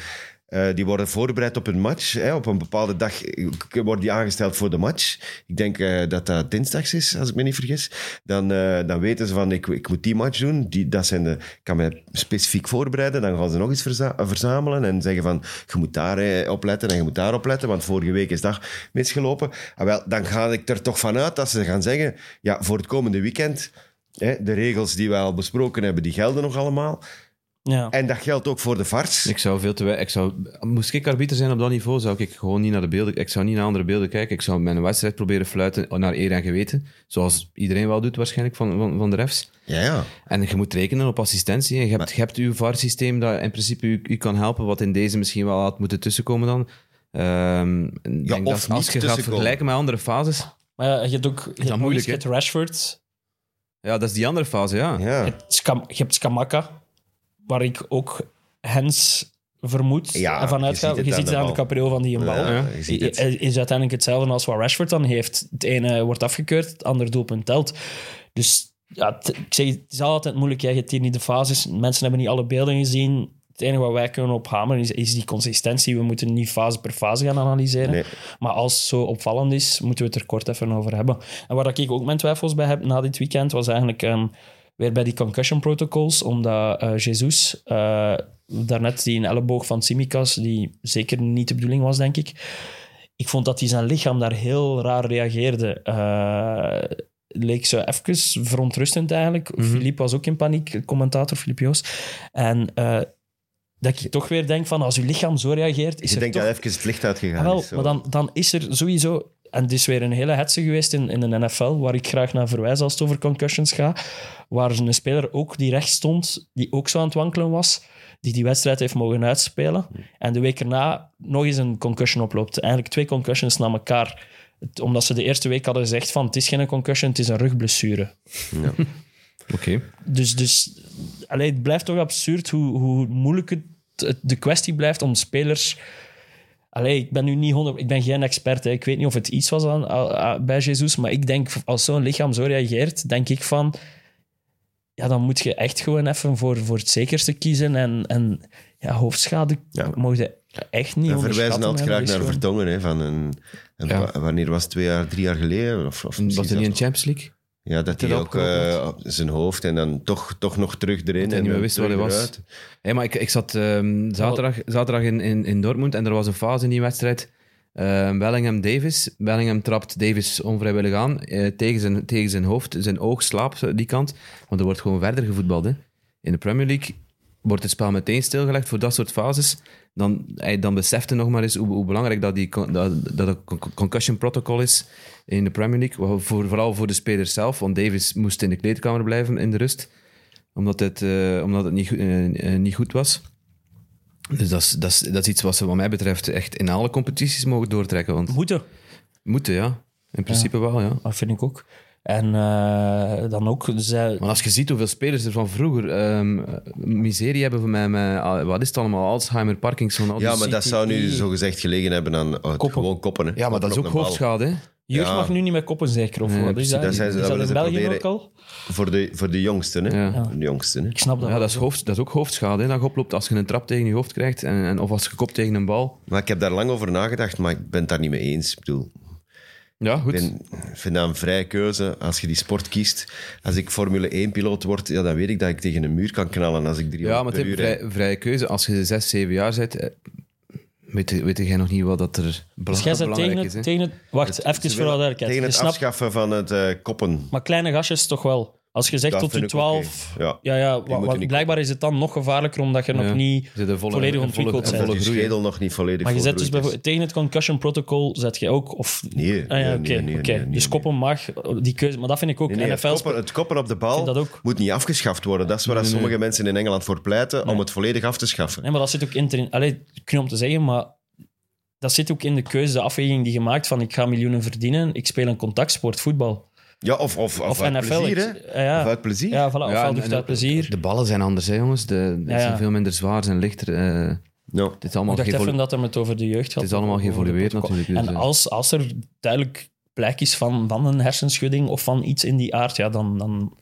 B: Eh, die worden voorbereid op een match. Hè. Op een bepaalde dag eh, worden die aangesteld voor de match. Ik denk eh, dat dat dinsdags is, als ik me niet vergis. Dan, eh, dan weten ze van, ik, ik moet die match doen. Die, dat zijn de, ik kan me specifiek voorbereiden. Dan gaan ze nog iets verza- eh, verzamelen en zeggen van, je moet daar eh, op letten en je moet daar op letten, want vorige week is dat misgelopen. Ah, wel, dan ga ik er toch vanuit dat ze gaan zeggen, ja, voor het komende weekend... Hè, de regels die wij al besproken hebben, die gelden nog allemaal.
C: Ja.
B: En dat geldt ook voor de VARs.
D: Ik zou veel te wij- ik zou, Moest ik arbiter zijn op dat niveau, zou ik gewoon niet naar de beelden... Ik zou niet naar andere beelden kijken. Ik zou mijn wedstrijd proberen fluiten naar eer en geweten. Zoals iedereen wel doet waarschijnlijk van, van, van de refs.
B: Ja, ja.
D: En je moet rekenen op assistentie. En je, hebt, je hebt uw VAR-systeem dat in principe u, u kan helpen, wat in deze misschien wel had moeten tussenkomen dan. Ehm, en ik denk
B: of niet
D: dat als je gaat
B: tussenkomen.
D: vergelijken met andere fases...
C: Maar ja, je hebt ook... Je hebt,
D: moeilijk,
C: je hebt
D: hè?
C: Rashford,
D: Ja, dat is die andere fase, ja.
C: je
B: ja.
C: hebt, Skam- je hebt Skamaka, waar ik ook hens vermoed
B: Ja,
C: en vanuit
B: je
C: ga.
B: ziet het
C: Je
B: aan
C: ziet
B: de
C: het aan de
B: bal.
C: capriool van die een bal.
B: Ja, je ziet het.
C: is uiteindelijk hetzelfde als wat Rashford dan heeft. Het ene wordt afgekeurd, het andere doelpunt telt. Dus ja, het- ik zeg, het is altijd moeilijk. Jij hebt hier niet de fases. Mensen hebben niet alle beelden gezien. Het enige wat wij kunnen ophameren is, is die consistentie. We moeten niet fase per fase gaan analyseren.
B: Nee.
C: Maar als het zo opvallend is, moeten we het er kort even over hebben. En waar ik ook mijn twijfels bij heb na dit weekend, was eigenlijk ehm, weer bij die concussion protocols. Omdat eh Jesus, eh, daarnet die een elleboog van Simicas, die zeker niet de bedoeling was, denk ik ik vond dat hij zijn lichaam daar heel raar reageerde. Eh, leek zo even verontrustend eigenlijk.
B: Mhm.
C: Philippe was ook in paniek, commentator Philippe Joos. En eh, dat ik toch weer denk van, als uw lichaam zo reageert, is
B: Je
C: er
B: denkt
C: toch...
B: dat even het licht uitgegaan
C: Ah, wel,
B: is. zo.
C: maar dan, dan is er sowieso... En het is weer een hele hetze geweest in, in de NFL, waar ik graag naar verwijs als het over concussions gaat, waar een speler ook die rechts stond, die ook zo aan het wankelen was, die die wedstrijd heeft mogen uitspelen, en de week erna nog eens een concussion oploopt. Eigenlijk twee concussions na elkaar. Het- Omdat ze de eerste week hadden gezegd van het is geen concussion, het is een rugblessure.
D: Oké.
C: Dus, dus allee, het blijft toch absurd hoe, hoe moeilijk het, het- de kwestie blijft om spelers. Allee, ik ben nu niet 100, ik ben geen expert. Hè. Ik weet niet of het iets was aan, a- a- bij Jesus, maar ik denk als zo'n lichaam zo reageert, denk ik van. Ja, dan moet je echt gewoon even voor, voor het zekerste kiezen. En, en ja, hoofdschade
B: Ja.
C: mogen je echt niet
B: We
C: onderschatten.
B: verwijzen altijd
C: hè. Dat
B: graag
C: is
B: naar
C: gewoon-
B: Vertongen. Hè, van een, een
D: Ja.
B: wa- Wanneer was het? Twee jaar, drie jaar geleden? Of, of
D: Was
B: precies
D: er niet een
B: dat-
D: Champions League?
B: Ja, dat
D: dat
B: hij ook
D: opgelopen
B: eh, op zijn hoofd en dan toch, toch nog terug erin.
D: Dat hij niet
B: dan
D: meer wist wat hij
B: terug
D: was.
B: eruit.
D: Hé, maar ik, ik zat ehm, zaterdag, zaterdag in, in, in Dortmund en er was een fase in die wedstrijd. Eh, Bellingham Davis. Bellingham trapt Davis onvrijwillig aan eh, tegen, zijn, tegen zijn hoofd. Zijn oog slaapt die kant. Want er wordt gewoon verder gevoetbald. Hè. In de Premier League wordt het spel meteen stilgelegd voor dat soort fases. Dan, hij- dan beseft hij nog maar eens hoe, hoe belangrijk dat, die, con- dat, dat het con- concussion protocol is in de Premier League. Wa- Voor, vooral voor de spelers zelf. Want Davis moest in de kleedkamer blijven in de rust. Omdat het, eh, omdat het niet, goed- eh, eh, niet goed was. Dus dat is, dat, is, dat is iets wat ze wat mij betreft echt in alle competities mogen doortrekken. Want
C: Moeten.
D: moeten, ja. In principe wel, ja.
C: Dat vind ik ook. En eh, dan ook, zij,
D: Maar als je ziet hoeveel spelers er van vroeger ehm, miserie hebben met, met, ah, wat is het allemaal, Alzheimer, Parkinson, al die- E
B: Ja, maar dat zou nu zogezegd gelegen hebben aan oh, gewoon koppen. Hè.
D: ja, maar dat is ook
B: Koppen op een bal.
D: hoofdschade. hè.
C: jeugd
B: Ja.
C: mag nu niet meer koppen, zeker. Of
D: Nee,
C: wat is
D: precies,
C: dat?
B: daar zijn ze-
C: is
B: daar
C: dat in
B: willen ze
C: België ook
B: proberen-
C: al?
B: Voor de, voor de jongsten, hè.
D: Ja. Ja.
B: De jongsten, hè.
C: Ik snap dat
D: Ja,
C: wel.
D: dat is, hoofd, dat is ook hoofdschade hè, dat je oploopt als je een trap tegen je hoofd krijgt en, en, of als je kop tegen een bal.
B: Maar ik heb daar lang over nagedacht, maar ik ben het daar niet mee eens. Ik bedoel,
D: Ja, goed.
B: ik ben- ik vind dat een vrije keuze als je die sport kiest. Als ik Formule 1-piloot word, ja, dan weet ik dat ik tegen een muur kan knallen als ik 300
D: ja, maar het
B: per
D: is een
B: uur rijd.
D: vrij, vrije keuze. Als je zes, zeven jaar bent, eh, weet, weet jij nog niet wat dat er bela-
C: Dus jij bent
D: belangrijk
C: tegen het,
D: is. hè?
C: tegen het... Wacht, even
B: Ze
C: voor
B: willen
C: alle duidelijkheid.
B: Tegen
C: Je
B: het
C: snapt,
B: afschaffen van het eh, koppen.
C: maar kleine gastjes toch wel. Als je zegt
B: Dat
C: tot
B: vind
C: je
B: ik oké.
C: 12...
B: Ja.
C: Ja, ja, wa-
B: moeten
C: wa-
B: niet
C: blijkbaar is het dan nog gevaarlijker omdat je
D: Ja.
C: nog niet...
D: Ze zijn volle-
C: volledig
D: volle-
C: ontwikkeld zijn.
B: En dat
D: volle
B: je
D: groei, hè.
B: schedel nog niet volledig
C: Maar je zet dus
B: volgroeid is.
C: bijvoorbeeld tegen het concussion protocol zet je ook of
B: Nee,
C: ah, ja,
B: nee,
C: oké,
B: nee, nee,
C: oké.
B: nee, nee,
C: dus
B: nee.
C: koppen mag oh, die keuze, maar dat vind ik ook
B: Nee, nee, het,
C: NFL
B: koppen, het koppen op de bal
C: Vind dat ook.
B: moet niet afgeschaft worden. Dat is waar sommige mensen in Engeland voor pleiten, om het volledig af te schaffen.
C: Nee, maar dat zit ook in. te- Allee, knap om te zeggen, maar dat zit ook in de keuze, de afweging die je maakt van ik ga miljoenen verdienen, ik speel een contactsport voetbal
B: Ja, of, of, of,
C: of,
B: uit
C: NFL.
B: plezier, hè.
C: ik- ja,
B: Of uit plezier.
C: ja, voilà, ofwel
D: en-
C: doe je
D: en
C: dat uit
D: ook-
C: plezier.
D: De ballen zijn anders, hè, jongens. De, de
C: Ja, ja.
D: zijn veel minder zwaar, zijn lichter. eh,
B: Ja.
D: het is allemaal
C: Ik dacht
D: gevol-
C: even dat hij het over de jeugd had.
D: Het is allemaal
C: Over de
D: geëvolueerd
C: protocol.
D: natuurlijk, dus,
C: en
D: eh.
C: als, als er duidelijk blijk is van, van een hersenschudding of van iets in die aard, ja, dan, dan,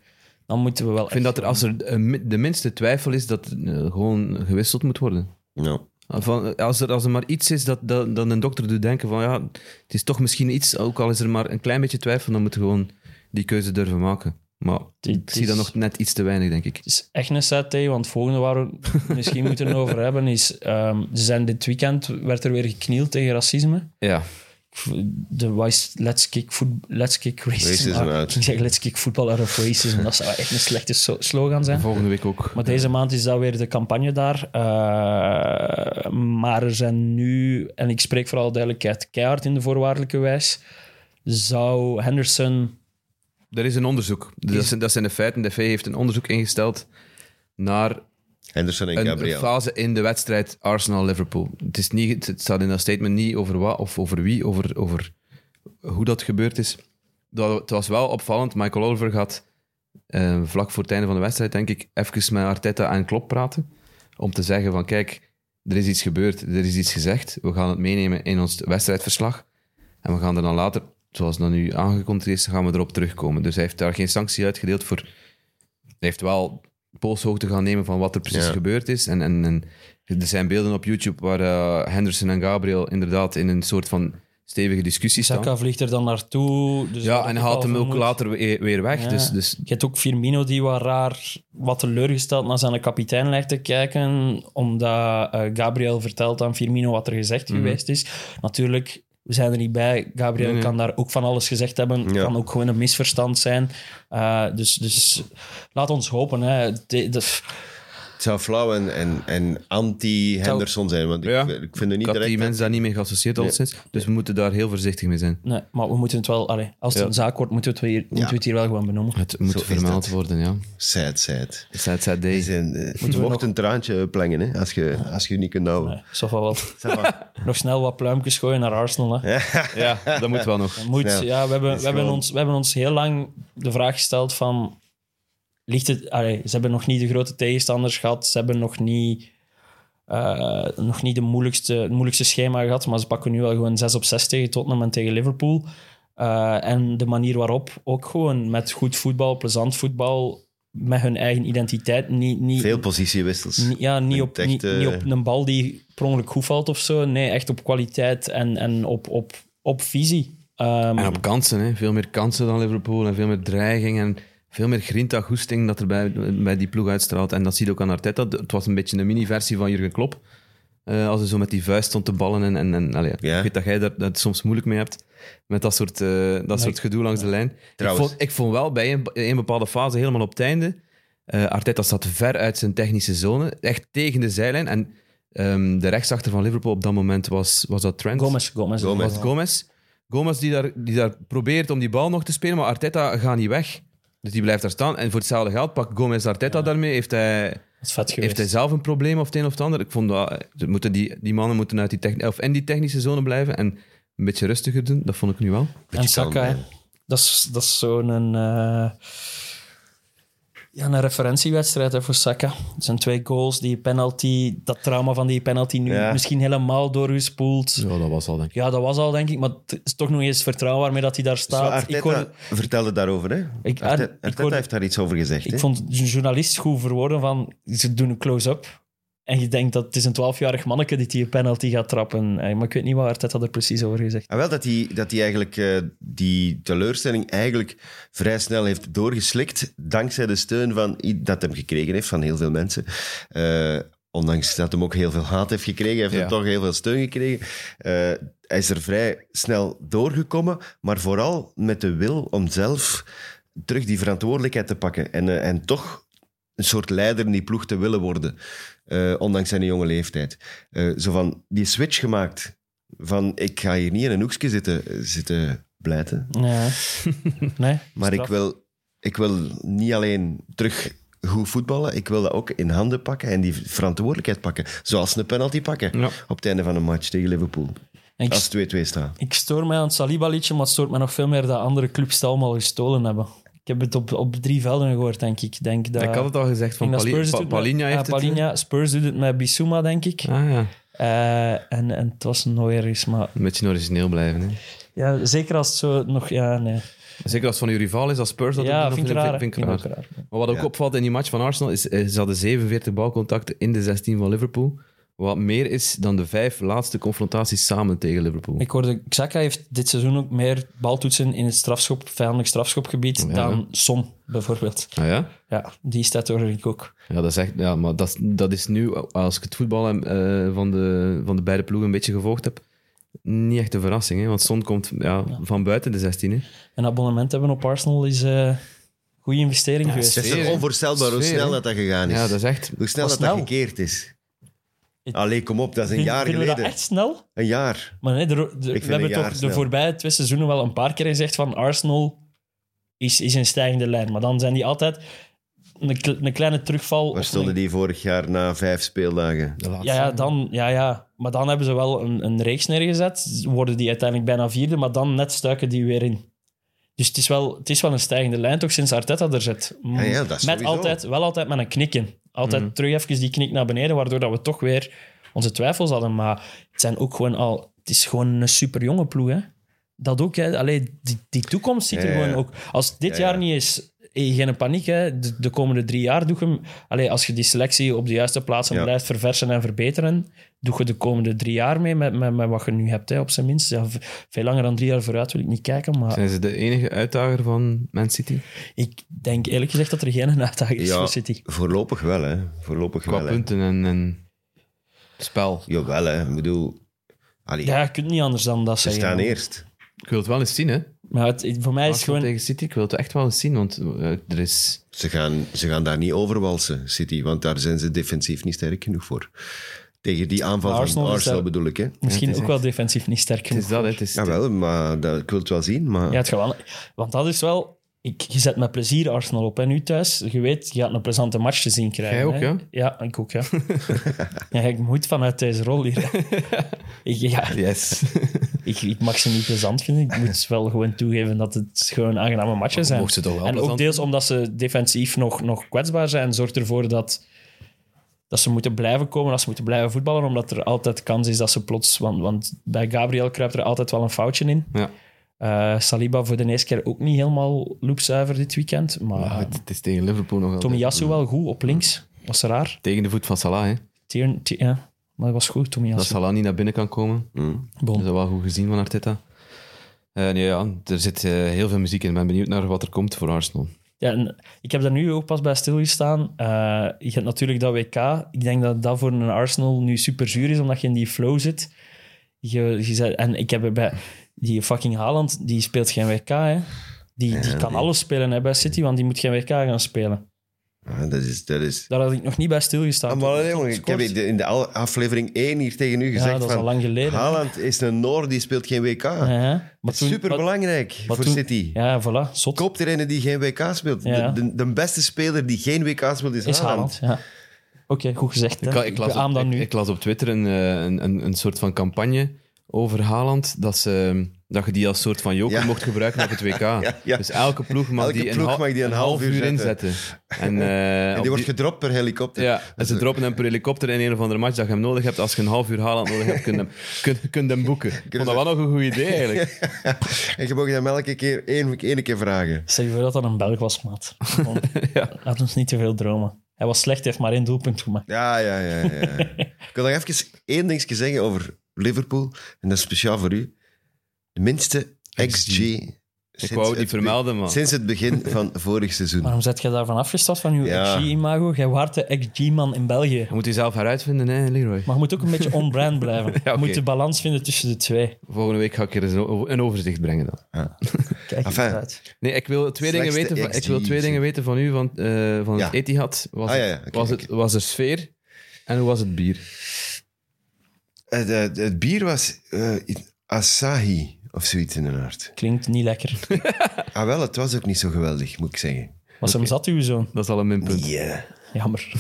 C: dan moeten we wel
D: Ik vind dat er, als er eh, mi- de minste twijfel is, dat eh, gewoon gewisseld moet worden.
B: Ja.
D: Van, als, er, als er maar iets is dat, dat, dat een dokter doet denken van ja, het is toch misschien iets, ook al is er maar een klein beetje twijfel, dan moet je gewoon die keuze durven maken. Maar
C: Dit
D: ik zie dat
C: is-
D: nog net iets te weinig, denk ik.
C: Het is echt een set, hè, want het volgende waar we het misschien moeten over hebben is... ehm, ze zijn dit weekend werd er weer geknield tegen racisme.
D: Ja,
C: De wise let's kick, voet- let's kick racism,
B: Racism
C: out.
B: uit.
C: Ik zeg let's kick voetbal out of racism. Dat zou echt een slechte so- slogan zijn.
D: volgende week ook.
C: Maar deze maand is dat weer de campagne daar. Eh, maar er zijn nu, en ik spreek vooral duidelijkheid, keihard in de voorwaardelijke wijs, zou Henderson...
D: Er is een onderzoek. Dus dat, zijn, dat zijn de feiten. De V heeft een onderzoek ingesteld naar
B: Henderson en
D: een
B: Gabriel.
D: fase in de wedstrijd Arsenal-Liverpool. Het, is niet- het staat in dat statement niet over wat of over wie, over, over hoe dat gebeurd is. Dat, het was wel opvallend. Michael Oliver gaat eh, vlak voor het einde van de wedstrijd, denk ik, even met Arteta en Klopp praten. Om te zeggen van, kijk, er is iets gebeurd, er is iets gezegd. We gaan het meenemen in ons wedstrijdverslag. En we gaan er dan later, zoals dat nu aangekondigd is, gaan we erop terugkomen. Dus hij heeft daar geen sanctie uitgedeeld voor... Hij heeft wel polshoogte gaan nemen van wat er precies
B: Ja.
D: gebeurd is. En, en, en er zijn beelden op YouTube waar eh, Henderson en Gabriel inderdaad in een soort van stevige discussie staan.
C: Saka vliegt er dan naartoe. Dus
D: Ja,
C: daar
D: en
C: heb
D: hij
C: ik
D: haalt
C: al
D: hem ook
C: vermoed.
D: later weer, weer weg.
C: Ja.
D: Dus, dus
C: Je hebt ook Firmino die wat raar, wat teleurgesteld naar zijn kapitein lijkt te kijken, omdat eh, Gabriel vertelt aan Firmino wat er gezegd
D: Mhm.
C: geweest is. Natuurlijk, we zijn er niet bij. Gabriel
D: Nee, nee.
C: kan daar ook van alles gezegd hebben. Het
B: Ja.
C: kan ook gewoon een misverstand zijn. Eh, dus, dus laat ons hopen. Hè. De- de-
B: Het zou flauw en, en, en anti-Henderson zijn, want ik,
D: Ja.
B: ik vind het
D: ik
B: niet
D: had die
B: direct...
D: mensen daar niet mee geassocieerd al sinds. Dus we moeten daar heel voorzichtig mee zijn.
C: nee, maar we moeten het wel... Allee, als het
D: Ja.
C: een zaak wordt, moeten we het, hier, moeten we het hier wel gewoon benoemen.
D: Het moet
B: Zo is
D: vermeld
B: dat.
D: worden, ja.
B: Sad, sad.
D: Sad, sad
B: Die
D: day.
B: zijn, eh, je mocht een traantje plengen, hè, als je als je niet kunt houden.
C: Nee, Sofa wel.
B: Zeg maar,
C: Nog snel wat pluimpjes gooien naar Arsenal. Hè.
D: Ja, dat moet wel nog.
C: Dat moet,
B: Snel.
C: ja, we hebben,
B: is
C: we, hebben
B: gewoon-
C: ons, we hebben ons heel lang de vraag gesteld van... Ligt het, allee, ze hebben nog niet de grote tegenstanders gehad. Ze hebben nog niet, eh, nog niet de moeilijkste, het moeilijkste schema gehad. Maar ze pakken nu wel gewoon 6 op 6 tegen Tottenham en tegen Liverpool. Eh, en de manier waarop ook gewoon met goed voetbal, plezant voetbal... Met hun eigen identiteit. Niet, *laughs* niet,
B: Veel positiewissels.
C: Ni- Ja, niet
B: Niet
C: op,
B: echt,
C: niet,
B: eh,
C: niet op een bal die per ongeluk goed valt of zo. Nee, echt op kwaliteit en, en op, op, op visie. Ehm,
D: En op kansen, hè. veel meer kansen dan Liverpool en veel meer dreiging en veel meer grinta, goesting dat er bij, bij die ploeg uitstraalt. En dat zie je ook aan Arteta. Het was een beetje een mini-versie van Jurgen Klopp. Eh, als hij zo met die vuist stond te ballen. En, en, en allee,
B: Ja.
D: ik weet dat jij daar, dat soms moeilijk mee hebt. Met dat soort, eh, dat soort gedoe langs de lijn.
B: Trouwens.
D: Ik, vond, ik vond wel bij een, in een bepaalde fase, helemaal op het einde. eh Arteta zat ver uit zijn technische zone. Echt tegen de zijlijn. En ehm, de rechtsachter van Liverpool op dat moment was, was dat Trent.
C: Gomez, Gomez.
B: Gomez.
D: Was het Gomez? Gomez die daar, die daar probeert om die bal nog te spelen, maar Arteta gaat niet weg. Dus die blijft daar staan. En voor hetzelfde geld pakt Gomez Arteta daarmee. Heeft hij,
C: Dat is vet
D: heeft
C: geweest.
D: hij zelf een probleem of het een of het ander? Ik vond dat... eh, ze moeten die, die mannen moeten uit die techni- of in die technische zone blijven en een beetje rustiger doen. Dat vond ik nu wel.
C: En Saka,
B: kalm,
C: hè. dat is, dat is zo'n... eh, ja, een referentiewedstrijd hè, voor Saka. Het zijn twee goals, die penalty, dat trauma van die penalty nu
B: Ja.
C: misschien helemaal doorgespoeld. Ja.
D: dat was al, denk
C: dat was al, denk ik, maar het is toch nog eens vertrouwen waarmee dat hij daar
B: Zo,
C: staat.
B: Arteta
C: ik, hoor-
B: vertelde daarover, hè?
C: Ik-
B: Arte-
C: Ar- ik
B: Arteta,
C: hoorde-
B: heeft daar iets over gezegd, hè?
C: ik vond de journalist goed verwoorden van, ze doen een close-up. En je denkt dat het is een 12-jarig manneke die die penalty gaat trappen. Eh, Maar ik weet niet wat Arteta er precies over gezegd
B: Ah, wel, dat hij dat die eigenlijk eh, die teleurstelling eigenlijk vrij snel heeft doorgeslikt, dankzij de steun van, i- dat hem gekregen heeft van heel veel mensen. Eh, ondanks dat hem ook heel veel haat heeft gekregen, heeft
D: Ja.
B: hij toch heel veel steun gekregen. Eh, hij is er vrij snel doorgekomen, maar vooral met de wil om zelf terug die verantwoordelijkheid te pakken en, eh, en toch een soort leider in die ploeg te willen worden, eh, ondanks zijn jonge leeftijd. Eh, zo van, die switch gemaakt van ik ga hier niet in een hoekje zitten, zitten blijten.
C: Ja.
D: *laughs*
C: nee,
B: Maar ik
C: straf.
B: wil, ik wil niet alleen terug goed voetballen, ik wil dat ook in handen pakken en die verantwoordelijkheid pakken. Zoals een penalty pakken
D: Ja.
B: op het einde van een match tegen Liverpool.
C: En ik
B: Als 2-2 staat.
C: Ik stoor mij aan het Saliba-liedje, maar het stoort mij nog veel meer dat andere clubs het allemaal gestolen hebben. Ik heb het op, op drie velden gehoord, denk ik. Ik Denk dat,
D: ik. Ik had het al gezegd, van
C: denk dat
D: Pali-
C: Spurs
D: Pa-
C: doet met-
D: Palinha
C: ja,
D: heeft het.
C: Palinha. Spurs doet het met Bissouma, denk ik.
D: Ah ja,
C: Eh, en, en het was nooit ergens, maar...
D: een beetje origineel blijven. Hè.
C: Ja, zeker als het zo nog... Ja, nee.
D: Zeker als het van uw rival is, als Spurs dat
C: ja,
D: doet,
C: vind ik
D: dan
C: raar. hè.
D: vind ik
C: Vind ik
D: raar.
C: ook raar.
D: Maar wat ook
B: Ja.
D: opvalt in die match van Arsenal is, eh, ze hadden 47 balcontacten in de 16 van Liverpool. Wat meer is dan de vijf laatste confrontaties samen tegen Liverpool.
C: Ik hoorde, Xhaka heeft dit seizoen ook meer baltoetsen in het strafschop, vijandelijk strafschopgebied
D: Ja.
C: dan Son, bijvoorbeeld.
D: Ah ja?
C: Ja, die staat er ik ook.
D: Ja, dat is echt, ja maar dat, is- dat is nu, als ik het voetbal eh, van, de, van de beide ploegen een beetje gevolgd heb, niet echt een verrassing. Hè? Want Son komt ja, van buiten de 16. Hè?
C: Een abonnement hebben op Arsenal is eh, een goede investering geweest.
B: Het is
D: Sfeer,
B: toch
D: hè?
B: onvoorstelbaar hoe
D: Sfeer,
B: snel
D: hè?
B: dat dat gegaan is.
D: Ja, dat is echt...
B: Hoe snel
C: Wat
B: dat dat
C: snel.
B: gekeerd is.
C: Ik-
B: Allee, kom op, dat is een
C: Vind-
B: jaar
C: Vinden we
B: geleden.
C: dat echt snel?
B: Een jaar.
C: Maar nee, er- er-
B: vind
C: we hebben
B: een jaar
C: toch de
B: snel.
C: voorbije twee seizoenen wel een paar keer gezegd van Arsenal is, is een stijgende lijn. Maar dan zijn die altijd een, kle- een kleine terugval.
B: Waar
C: of
B: stonden
C: een-
B: die vorig jaar na vijf speeldagen?
D: De laatste.
C: Ja, ja, dan, ja, ja, maar dan hebben ze wel een, een reeks neergezet. Worden die uiteindelijk bijna vierde, maar dan net stuiken die weer in. Dus het is wel, het is wel een stijgende lijn, toch sinds Arteta er zit. Mm,
B: Ja, ja, dat is
C: met
B: sowieso. Mhm.
C: altijd, wel altijd met een knik in. Altijd terug even die knik naar beneden, waardoor dat we toch weer onze twijfels hadden. Maar het, zijn ook gewoon al, het is gewoon een superjonge ploeg. Hè? Dat ook, hè. Allee, die, die toekomst zit er
B: Ja, ja,
C: gewoon
B: ja.
C: ook. Als dit
B: Ja,
C: jaar
B: ja.
C: niet is, eh, geen paniek. Hè. De, de komende drie jaar doe je hem. Allee, als je die selectie op de juiste plaatsen
B: Ja.
C: blijft verversen en verbeteren, doe je de komende drie jaar mee met, met, met wat je nu hebt, hè, op zijn minst. Ja, v- veel langer dan drie jaar vooruit wil ik niet kijken, maar
D: Zijn ze de enige uitdager van Man City?
C: ik denk eerlijk gezegd dat er geen uitdaging is
B: Ja.
C: voor City.
B: Voorlopig wel, hè. Voorlopig
D: Qua
B: wel, hè.
D: punten en, en spel.
B: Jawel, hè. Ik bedoel... Allee,
C: Ja, je kunt niet anders dan dat
B: ze
C: zeggen.
B: staan eerst.
D: Ik wil het wel eens zien, hè?
C: Maar het, voor mij is het
D: Arsenal
C: gewoon...
D: tegen City, ik wil het echt wel eens zien, want eh, er is...
B: Ze gaan, ze gaan daar niet overwalsen, City, want daar zijn ze defensief niet sterk genoeg voor. Tegen die aanval
C: Arsenal is
B: van Arsenal
C: daar-
B: bedoel ik, hè?
C: Misschien
D: Ja, het
C: ook
D: is
C: wel defensief niet sterk
D: Het is
C: genoeg.
D: dat, hè, het is...
B: Jawel, maar dat, ik wil het wel zien,
D: eh,
B: maar...
C: Ja, het gewoon. Want dat is wel... Ik, je zet met plezier Arsenal op. En nu thuis, je weet, je gaat een plezante match te zien krijgen.
D: Jij ook,
C: hè?
D: ja?
C: Ja, ik ook,
D: *laughs*
C: ja. ja. Ik moet vanuit deze rol hier. hè. ik, ja, *laughs*
D: Yes.
C: ik, ik mag ze niet plezant vinden.
D: *laughs*
C: Ik moet wel gewoon toegeven dat het gewoon aangename matchen zijn.
D: Mocht ze toch wel
C: en ook
D: plezant
C: deels omdat ze defensief nog, nog kwetsbaar zijn, zorgt ervoor dat, dat ze moeten blijven komen, dat ze moeten blijven voetballen, omdat er altijd kans is dat ze plots... Want, want bij Gabriel kruipt er altijd wel een foutje in.
D: Ja.
C: Eh, Saliba voor de eerste keer ook niet helemaal loopzuiver dit weekend. Maar
D: Ah, het, het is tegen Liverpool nog wel.
C: Tomiyasu wel goed op links. Was raar.
D: Tegen de voet van Salah, hè?
C: Tier, tier- ja. Maar dat was goed,
D: Dat
C: Tomiyasu.
D: Salah niet naar binnen kan komen.
B: Hmm.
C: Bon.
D: Dat is wel goed gezien van Arteta. Eh, nee, ja, er zit eh, heel veel muziek in. Ik ben benieuwd naar wat er komt voor Arsenal.
C: Ja, en ik heb daar nu ook pas bij stilgestaan. Eh je hebt natuurlijk dat WK. Ik denk dat dat voor een Arsenal nu super zuur is, omdat je in die flow zit. Je, je zei- en ik heb er bij... Die fucking Haaland, die speelt geen WK, hè. Die, die kan alles spelen hè, bij City, want die moet geen WK gaan spelen.
B: Ah, dat is... Dat is...
C: Daar had ik nog niet bij stilgestaan.
B: Ah, maar,
C: Tot-
B: jongen,
C: tot
B: ik heb
C: kort.
B: in de- in de al- aflevering 1 hier tegen u gezegd
C: dat is
B: van...
C: al lang geleden.
B: Haaland is een Noor, die speelt geen WK.
C: Ja, hè.
B: Dat
C: maar
B: is
C: toen- maar-
B: superbelangrijk
C: maar
B: voor
C: toen-
B: City.
C: Ja, voilà, zot.
B: Koopt er een die geen WK speelt.
C: Ja.
B: De, de, de beste speler die geen WK speelt is,
C: Is
B: Haaland.
C: Haaland, ja. Oké, goed gezegd. hè.
D: Ik, ik, las
C: beaam
D: op,
C: dat
D: ik,
C: nu.
D: ik las op Twitter een, eh, een, een, een soort van campagne over Haaland, dat, ze, dat je die als soort van joker
B: Ja.
D: mocht gebruiken op
B: *laughs*
D: het WK.
B: ja.
D: Dus elke ploeg mag,
B: Elke
D: die, een
B: ploeg
D: hal-
B: mag die een half uur zetten.
D: inzetten.
B: *laughs*
D: En, eh,
B: En
D: op
B: die wordt
D: die-
B: gedropt per *laughs* helikopter.
D: ja, en ze droppen hem per helikopter in een of andere match dat je hem nodig hebt. Als je een half uur Haaland nodig hebt, kun je hem, *laughs* kun, kun je hem boeken. Ik vond dat wel nog een goed idee,
B: *laughs*
D: eigenlijk.
B: En je mag hem elke keer één, één keer vragen.
C: Zeg voor dat dat een Belg was, maat. Gewoon,
D: Ja.
C: Laat ons niet te veel dromen. Hij was slecht, hij heeft maar één doelpunt gemaakt.
B: Ja, ja, ja. ja. *laughs* Ik wil nog even één ding zeggen over Liverpool. En dat is speciaal voor u. De minste XG.
D: Ik
B: sinds
D: wou die
B: het be-
D: vermelden, man.
B: Sinds het *laughs* begin van vorig seizoen.
C: Waarom zet je daarvan afgestapt van uw
B: Ja.
C: XG-imago? Jij waart de XG-man in België.
D: Je moet die zelf heruitvinden, hè, Leroy.
C: Maar je moet ook een beetje on-brand blijven.
D: oké.
C: Je moet de balans vinden tussen de twee.
D: Volgende week ga ik er eens een o- een overzicht brengen dan.
C: Kijk
B: Enfin.
C: eens uit.
D: Nee, ik wil twee, dingen
B: Slechtste
D: weten, van, ik wil
B: XG
D: twee dingen weten van u, van, eh, van het
B: Ja.
D: Etihad. Was,
B: Ah,
D: het-
B: ja, ja, oké,
D: was, het, was er sfeer en hoe was het bier?
B: Het, het- Eh, het bier was eh, Asahi of zoiets in de aard.
C: Klinkt niet lekker.
B: Ah wel, het was ook niet zo geweldig, moet ik zeggen.
C: Was hem zat, uw zoon?
D: Dat is al een minpunt.
B: Ja.
C: Jammer.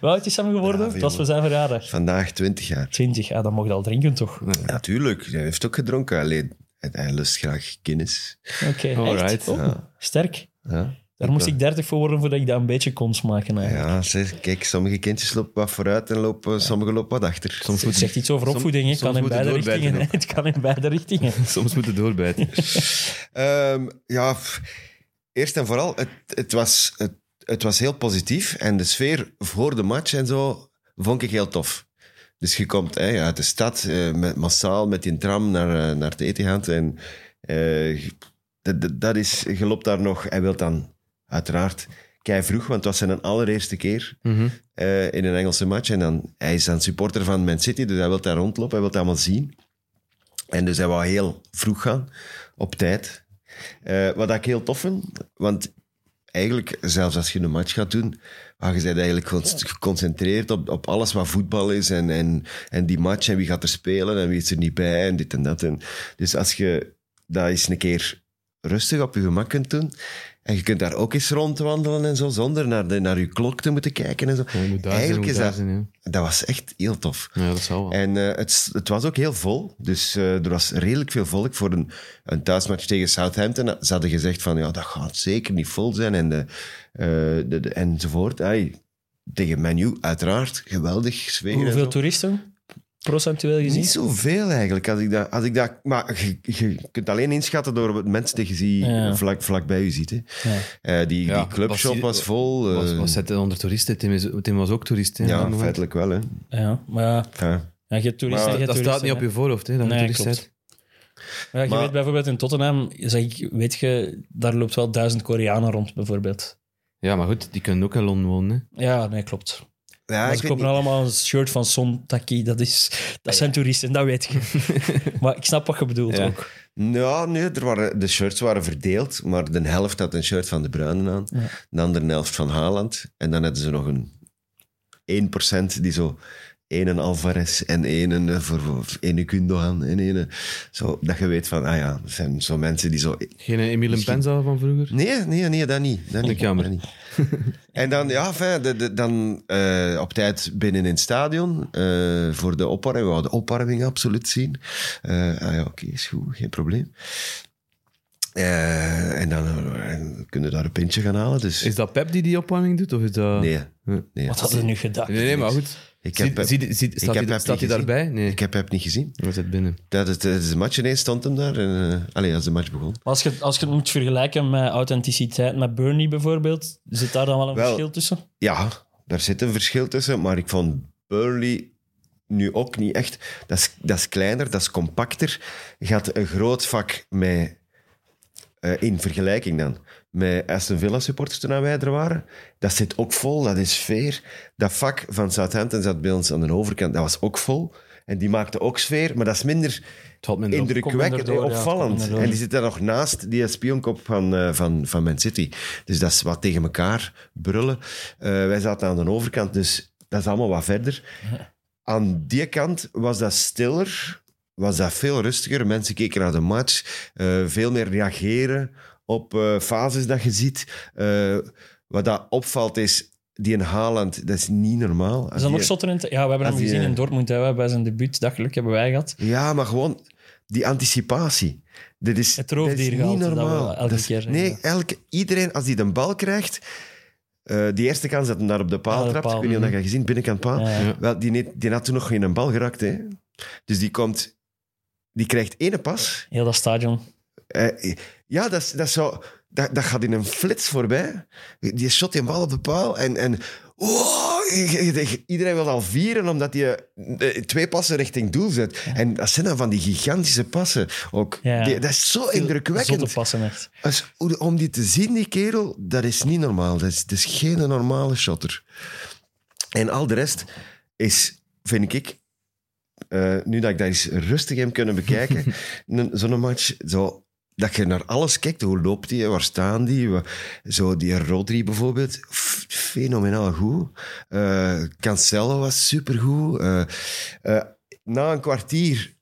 C: Wel oud is hem geworden?
B: Brave
C: Het was voor
B: jongen.
C: zijn verjaardag.
B: Vandaag 20 jaar.
C: 20, ja, dan mocht je al drinken, toch? Oké,
B: Natuurlijk, hij heeft ook gedronken, alleen hij- hij lust graag Guinness.
C: echt?
D: Alright.
C: Oh, sterk.
B: Ja,
C: Daar moest ik 30 voor worden voordat ik dat een beetje kon smaken. Eigenlijk.
B: ja zeg, kijk, sommige kindjes lopen wat vooruit en lopen, sommigen lopen wat achter.
D: Soms
C: Het
D: moet,
C: zegt iets over opvoeding, hè. het
D: soms
C: kan in
D: moet het
C: beide
D: doorbijten
C: richtingen. hè. *laughs*
D: ook.
C: Het kan in beide richtingen.
D: *laughs* soms moet het
B: *laughs*
D: doorbijten.
B: Ehm, ja, f- eerst en vooral, het, het, was, het, het was heel positief. En de sfeer voor de match en zo vond ik heel tof. Dus je komt hè, uit de stad eh, met, massaal met die tram naar, eh, naar het Etihad. En eh, dat- dat- dat is, je loopt daar nog. Hij wil dan uiteraard kei vroeg, want het was zijn allereerste keer
D: Mhm.
B: eh, in een Engelse match. En dan, hij is dan supporter van Man City, dus hij wil daar rondlopen, hij wil dat allemaal zien. En dus hij wou heel vroeg gaan, op tijd. Eh, wat ik heel tof vind, want eigenlijk, zelfs als je een match gaat doen, ah, je bent eigenlijk gewoon st- geconcentreerd op, op alles wat voetbal is en, en, en die match en wie gaat er spelen en wie is er niet bij en dit en dat. En, dus als je dat eens een keer rustig op je gemak kunt doen en je kunt daar ook eens rondwandelen en zo, zonder naar, de, naar je klok te moeten kijken en zo.
D: Ja, je moet daar zijn,
B: eigenlijk
D: je
B: is
D: moet daar
B: dat,
D: zijn, ja.
B: dat was echt heel tof.
D: Ja, dat zal wel.
B: En eh, het, s- het was ook heel vol. Dus eh, er was redelijk veel volk voor een, een thuismatch tegen Southampton. Ze hadden gezegd van, ja, dat gaat zeker niet vol zijn. En de, eh, de, de- enzovoort. Ai, tegen menu, uiteraard. Geweldig sfeer. en
C: Hoeveel
B: zo.
C: toeristen? Procentueel gezien?
B: Niet zoveel eigenlijk. Als ik dat, als ik dat, maar je, je kunt alleen inschatten door wat mensen tegen die
C: Ja.
B: vlak, vlak bij u zitten.
C: Ja.
B: Eh, die,
D: Ja,
B: die clubshop
D: was-
B: was, vol. eh,
D: was, was het onder toeristen? Tim, is, Tim was ook toerist. Hè,
B: ja,
D: Maar-
B: feitelijk wel. Hè.
C: Ja, maar ja,
B: Ja.
C: ja, je hebt toeristen,
B: Maar
C: je hebt
D: Dat staat
C: toeristen,
D: niet op
C: hè.
D: je voorhoofd, hè, dat je
C: Nee,
D: toerist
C: klopt.
D: bent.
C: Ja, je
B: Maar-
C: weet bijvoorbeeld in Tottenham, zeg ik, weet je, daar loopt wel duizend Koreanen rond, bijvoorbeeld.
D: Ja, maar goed, die kunnen ook in Londen wonen. Hè.
C: Ja, nee, klopt.
B: Ja,
C: maar
B: ik
C: ze
B: weet
C: kopen
B: niet.
C: allemaal een shirt van Son Taki, dat, is, dat zijn toeristen, dat weet je. maar ik snap wat je bedoelt
D: Ja.
C: ook.
B: Nou, nee, er waren, de shirts waren verdeeld, maar de helft had een shirt van de Bruinen aan,
C: Ja.
B: de andere helft van Haaland. En dan hadden ze nog een 1% die zo één een Alvarez en één een, eh, voor, voor ene Gundogan en ene... Zo, dat je weet van, ah ja, dat zijn zo mensen die zo...
D: Geen Emile Penza van vroeger?
B: Nee, nee, nee, dat niet. Dat niet
D: jammer.
B: dat niet. en dan, ja, fijn, de- de- dan eh, op tijd binnen in het stadion eh, voor de opwarming. We hadden de opwarming absoluut zien. Eh, ah ja, oké, is goed, geen probleem. Eh, en dan eh, en kunnen we daar een pintje gaan halen. Dus
D: Is dat Pep die die opwarming doet? Of is dat...
B: nee,
D: Huh.
B: nee.
C: Wat hadden we nu gedacht?
D: Nee, nee, maar goed.
B: Ik heb Pep-
D: zie, zie, zie, staat
B: heb
D: hij-
B: Pep
D: staat hij
B: niet
D: daarbij? Nee,
B: Ik heb hem niet gezien.
D: hij zit binnen.
B: Dat het, het is een match ineens stond hem daar. En, eh, allee, als de match begon.
C: Maar als je, als je het moet vergelijken met authenticiteit, met Bernie bijvoorbeeld, zit daar dan wel een
B: Wel,
C: verschil tussen?
B: Ja, daar zit een verschil tussen, maar ik vond Burnley nu ook niet echt. Dat is, dat is kleiner, dat is compacter. Je had een groot vak met eh, in vergelijking dan met Aston Villa supporters toen wij er waren. Dat zit ook vol, dat is sfeer. Dat vak van Southampton zat bij ons aan de overkant, dat was ook vol. En die maakte ook sfeer, maar dat is minder
D: valt minder op.
B: indrukwekkend,
C: Komt minder door, ja, komt
B: opvallend.
C: minder door.
B: en die zit daar nog naast die spionkop van, eh, van, van Man City. Dus dat is wat tegen elkaar brullen. Eh, wij zaten aan de overkant, dus dat is allemaal wat
C: *laughs*
B: verder. Aan die kant was dat stiller, was dat veel rustiger. Mensen keken naar de match, eh, veel meer reageren op eh, fases dat je ziet. Eh, wat dat opvalt is, die in Haaland, dat is niet normaal.
C: Is dat nog
B: Die-
C: zotter in... het- Ja, we hebben hem
B: als die,
C: gezien
B: eh,
C: in Dortmund. Hè. We hebben zijn debuut, dat geluk hebben wij gehad.
B: Ja, maar gewoon die anticipatie. Dit is,
C: Het
B: dit is
C: roofdiergehalte
B: niet
C: dat we
B: normaal.
C: elke
B: Dat is-
C: keer zeggen,
B: nee,
C: ja.
B: elke, iedereen, als die de bal krijgt, eh, die eerste kans dat hij daar op de paal
C: Ah, de
B: trapt,
C: paal,
B: ik weet niet of
C: mhm.
B: dat je gezien binnenkant paal,
C: Ja, ja.
B: wel, die, net- die had toen nog geen bal geraakt. Hè. Dus die komt, die krijgt ene pas.
C: Heel dat stadion.
B: Eh, eh, ja, dat, is- dat, is zo, dat, dat gaat in een flits voorbij. Die shot die bal op de paal en... en wow, je- je- je- iedereen wil al vieren omdat je eh, twee passen richting doel zet. En dat zijn dan van die gigantische passen. Ook,
C: Ja.
B: Die- dat is zo
C: Zotte
B: indrukwekkend.
C: passen, echt.
B: Als- hoe- om die te zien, die kerel, dat is niet normaal. Dat is, dat is geen normale shotter. En al de rest is, vind ik, eh, nu dat ik dat eens rustig heb kunnen bekijken, een- zo'n match, zo, dat je naar alles kijkt. Hoe loopt die? Waar staan die? Wa- Zo die Rodri bijvoorbeeld, f- fenomenaal goed. Eh, Cancelo was supergoed. Eh, eh, na een kwartier,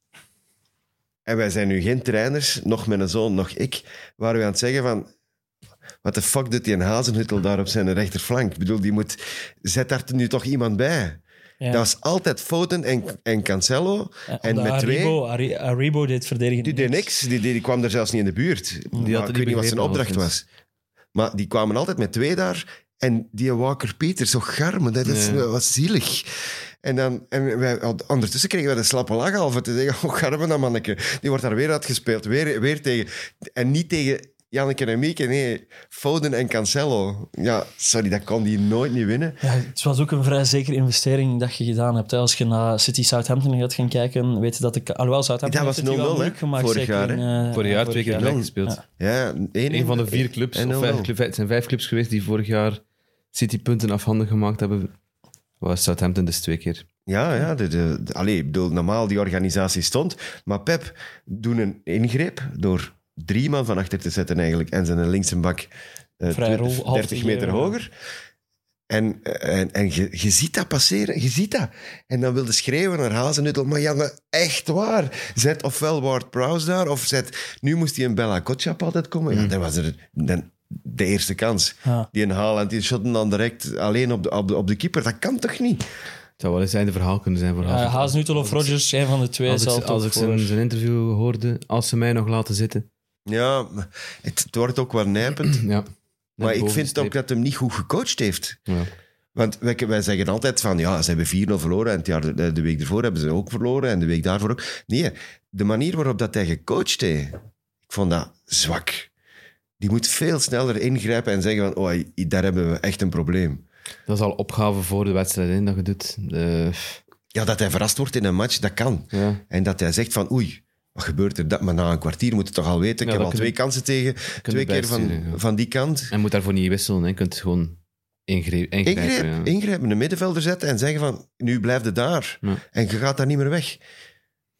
B: en wij zijn nu geen trainers, nog mijn zoon, nog ik, waren we aan het zeggen van... Wat de fuck doet die een Hazenhuttel daar op zijn rechterflank? Ik bedoel, die moet... Zet daar nu toch iemand bij?
C: Ja. Eh,
B: Dat was altijd Foden en, en Cancelo. en
C: Omdat
B: met twee...
C: Aribo, Ari- Aribo deed verdedigen.
B: Die deed niks. Die, die, die kwam er zelfs niet in de buurt. Maar
D: niet
B: ik weet niet wat zijn
D: begrepen,
B: opdracht was.
D: overigens.
B: Maar die kwamen altijd met twee daar. En die Walker Peter, zo garme, dat is
D: Nee.
B: wat zielig. En, dan, en wij, ondertussen kregen we de slappe lach al voor te zeggen, *laughs* oh, garme dat manneke. Die wordt daar weer uitgespeeld, weer, weer tegen. En niet tegen Janneke en Mieke, nee, Foden en Cancelo. Ja, sorry, dat kon die nooit niet winnen.
C: Ja, het was ook een vrij zekere investering dat je gedaan hebt. hè. Als je naar City Southampton gaat gaan kijken, weet je dat ik... Alhoewel, Southampton
B: Dat was
C: heeft het hier
B: 0-0, hè,
C: wel moeilijk gemaakt.
B: vorig
C: zeker
B: jaar, hè.
C: in, eh,
D: Vorig jaar twee keer gelijk
B: Ja.
D: gespeeld.
B: Ja, één,
D: Een van de vier clubs,
B: En
D: of
B: nul-nul.
D: vijf clubs, het zijn vijf clubs geweest die vorig jaar City punten afhandig gemaakt hebben. Was Southampton dus twee keer.
B: Ja, ja de, de, de- allee, ik bedoel, normaal die organisatie stond. Maar Pep doet een ingreep door drie man van achter te zetten eigenlijk. En zijn linkse bak eh,
C: Vrij rol,
B: 20,
C: half
B: 30 meter
C: tegen,
B: hoger. En, en, en je, je ziet dat passeren, je ziet dat. En dan wilde schreeuwen naar Hazenutel, maar Janne, echt waar. Zet ofwel Ward-Prowse daar, of zet... Nu moest hij een Bella Kotschap altijd komen.
C: Mm.
B: Ja, dat was er, dan, de eerste kans.
C: Ja.
B: Die een Haaland, die shot hem dan direct alleen op de, op, de, op de keeper. Dat kan toch niet?
D: Het zou wel eens einde verhaal kunnen zijn voor Havertz.
C: eh, Haasnutel of Rodgers, een van de twee,
D: Als
C: zal
D: ik,
C: toch
D: als ik
C: voor-
D: zijn, zijn interview hoorde, als ze mij nog laten zitten.
B: Ja, maar het, het wordt ook wel
D: *clears throat*
B: nijpend.
D: Ja. Net
B: Maar ik
D: boven
B: vind
D: de
B: ook
D: streep.
B: dat hem niet goed gecoacht heeft.
D: Ja.
B: Want wij, wij zeggen altijd van, ja, ze hebben 4-0 verloren en het jaar, de, de week ervoor hebben ze ook verloren en de week daarvoor ook. Nee, de manier waarop dat hij gecoacht heeft, ik vond dat zwak. Die moet veel sneller ingrijpen en zeggen van, oh, daar hebben we echt een probleem.
D: Dat is al opgave voor de wedstrijd in dat je doet. Eh,
B: Ja, dat hij verrast wordt in een match, dat kan.
D: ja.
B: En dat hij zegt van, oei, wat gebeurt er? Dat, maar na een kwartier moet het toch al weten. Ik heb
D: Ja, dat
B: al
D: kunnen-
B: twee kansen tegen, twee keer van,
D: bijsturen, ja.
B: van die kant.
D: En moet daarvoor niet wisselen. hè. Je kunt gewoon ingre- ingrijpen.
B: Ingreep,
D: ja.
B: ingrijpen, de middenvelder zetten en zeggen van, nu blijf je daar.
D: Ja.
B: En je gaat daar niet meer weg.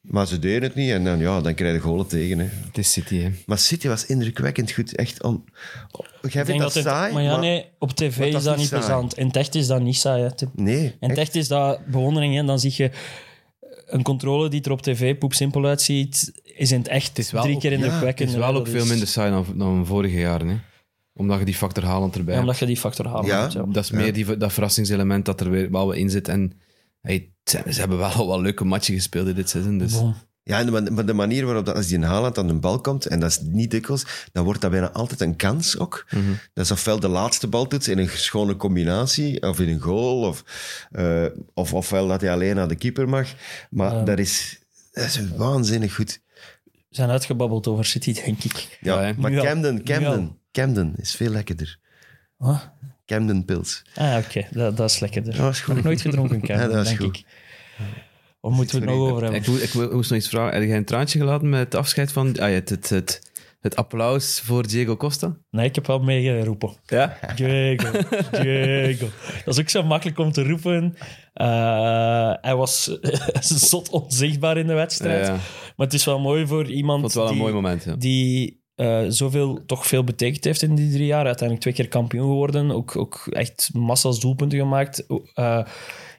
B: Maar ze deden het niet en dan, ja, dan krijg je golen tegen. Hè.
D: Het is City, hè.
B: Maar City was indrukwekkend goed. Echt on... Jij
C: Ik denk
B: vindt dat,
C: het-
B: saai,
C: Maar ja, nee, op tv
B: maar
C: is
B: dat
C: dat,
B: is
C: niet
B: niet saai.
C: plezant. In techt is dat niet saai. hè, Tim.
B: Nee,
C: In
B: echt.
C: techt is dat bewondering. En dan zie je een controle die er op tv poepsimpel uitziet, is in het echt
D: is wel
C: drie
D: ook-
C: keer
D: ja,
C: indrukwekkend.
D: Het is wel ook veel minder saai dan, dan vorige jaren, hè. Omdat je die factor Haaland erbij
C: Ja,
D: hebt.
C: omdat je die factor haalt.
B: Ja.
C: hebt, ja.
D: Dat is meer die, dat verrassingselement dat er weer wel in zit. En hey, ze, ze hebben wel *laughs* al wel leuke matchen gespeeld in dit seizoen. Dus.
C: Bon.
B: Ja, en de man- maar de manier waarop dat, als die in Haaland aan de bal komt, en dat is niet dikwijls, dan wordt dat bijna altijd een kans ook.
D: Mhm.
B: Dat is ofwel de laatste baltoets in een schone combinatie, of in een goal, of, eh, of ofwel dat hij alleen naar de keeper mag. Maar dat, is, dat is waanzinnig goed.
C: We zijn uitgebabbeld over City, denk ik.
B: Ja,
D: Ja, hè.
B: maar
C: Nu al.
B: Camden,
C: Nu
B: Camden,
C: al.
B: Camden is veel lekkerder.
C: Huh?
B: Camden Pils.
C: Ah, oké. Dat, dat is lekkerder.
B: Dat was goed.
C: Nog nooit
D: *laughs*
C: gedronken, Ken,
B: Ja, dat is
C: denk
B: goed.
C: ik. Waar moeten we het nog over hebben?
D: Ik, mo- ik mo- moest nog iets vragen. Heb jij een traantje gelaten met het afscheid van... Ah, ja, het, het, het het applaus voor Diego Costa?
C: Nee, ik heb wel meegeroepen.
D: Ja.
C: Diego,
D: *laughs*
C: Diego. Dat is ook zo makkelijk om te roepen. Eh, hij was *laughs* zot onzichtbaar in de wedstrijd.
D: Ja.
C: Maar het is wel mooi voor iemand
D: vond het wel een
C: die,
D: mooi moment. Ja.
C: die eh, zoveel, toch veel betekend heeft in die drie jaar. Uiteindelijk twee keer kampioen geworden. Ook, ook echt massa's doelpunten gemaakt. Eh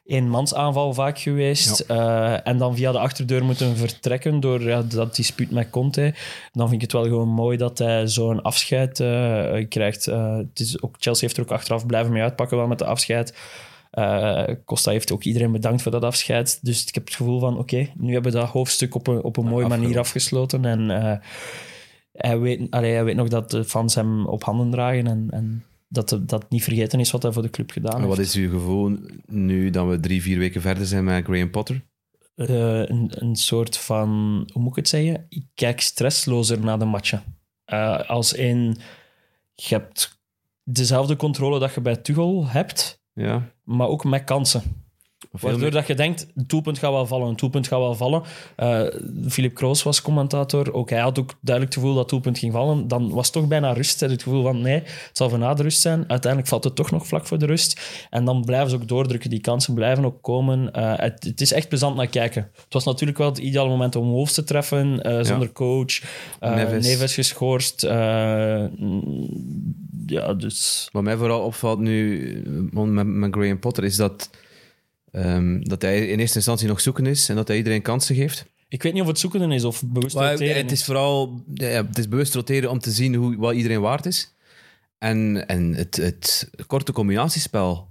C: mansaanval vaak geweest. Eh, en dan via de achterdeur moeten vertrekken door ja, dat dispuut met Conte. Dan vind ik het wel gewoon mooi dat hij zo'n afscheid eh, krijgt. Eh, het is ook, Chelsea heeft er ook achteraf blijven mee uitpakken, wel met de afscheid. Eh, Costa heeft ook iedereen bedankt voor dat afscheid. Dus ik heb het gevoel van, oké, nu hebben we dat hoofdstuk op een, op een mooie manier afgesloten. En eh, hij, weet, allee, hij weet nog dat de fans hem op handen dragen en, en dat de- dat niet vergeten is wat hij voor de club gedaan
D: En
C: heeft.
D: wat is uw gevoel nu dat we drie, vier weken verder zijn met Graham Potter?
C: eh, een, een soort van, hoe moet ik het zeggen? Ik kijk stresslozer naar de matchen. Eh, als in, je hebt dezelfde controle dat je bij Tuchel hebt,
D: Ja.
C: maar ook met kansen. Waardoor dat je denkt, een doelpunt gaat wel vallen, een doelpunt gaat wel vallen. Eh Philip Kroos was commentator, ook hij had ook duidelijk het gevoel dat het doelpunt ging vallen. Dan was het toch bijna rust, hè. het gevoel van nee, het zal van na de rust zijn. Uiteindelijk valt het toch nog vlak voor de rust. En dan blijven ze ook doordrukken, die kansen blijven ook komen. Eh, het, het is echt plezant naar kijken. Het was natuurlijk wel het ideale moment om Wolves te treffen, eh, zonder coach. Eh,
D: Neves.
C: Neves. geschorst. eh, mm, ja, dus...
D: Wat mij vooral opvalt nu eh, met, met Graham Potter is dat, ehm, dat hij in eerste instantie nog zoeken is en dat hij iedereen kansen geeft.
C: Ik weet niet of het zoeken is of bewust
D: Maar
C: roteren
D: het
C: is.
D: is vooral ja, het is bewust roteren om te zien hoe, wat iedereen waard is. En, en het, het korte combinatiespel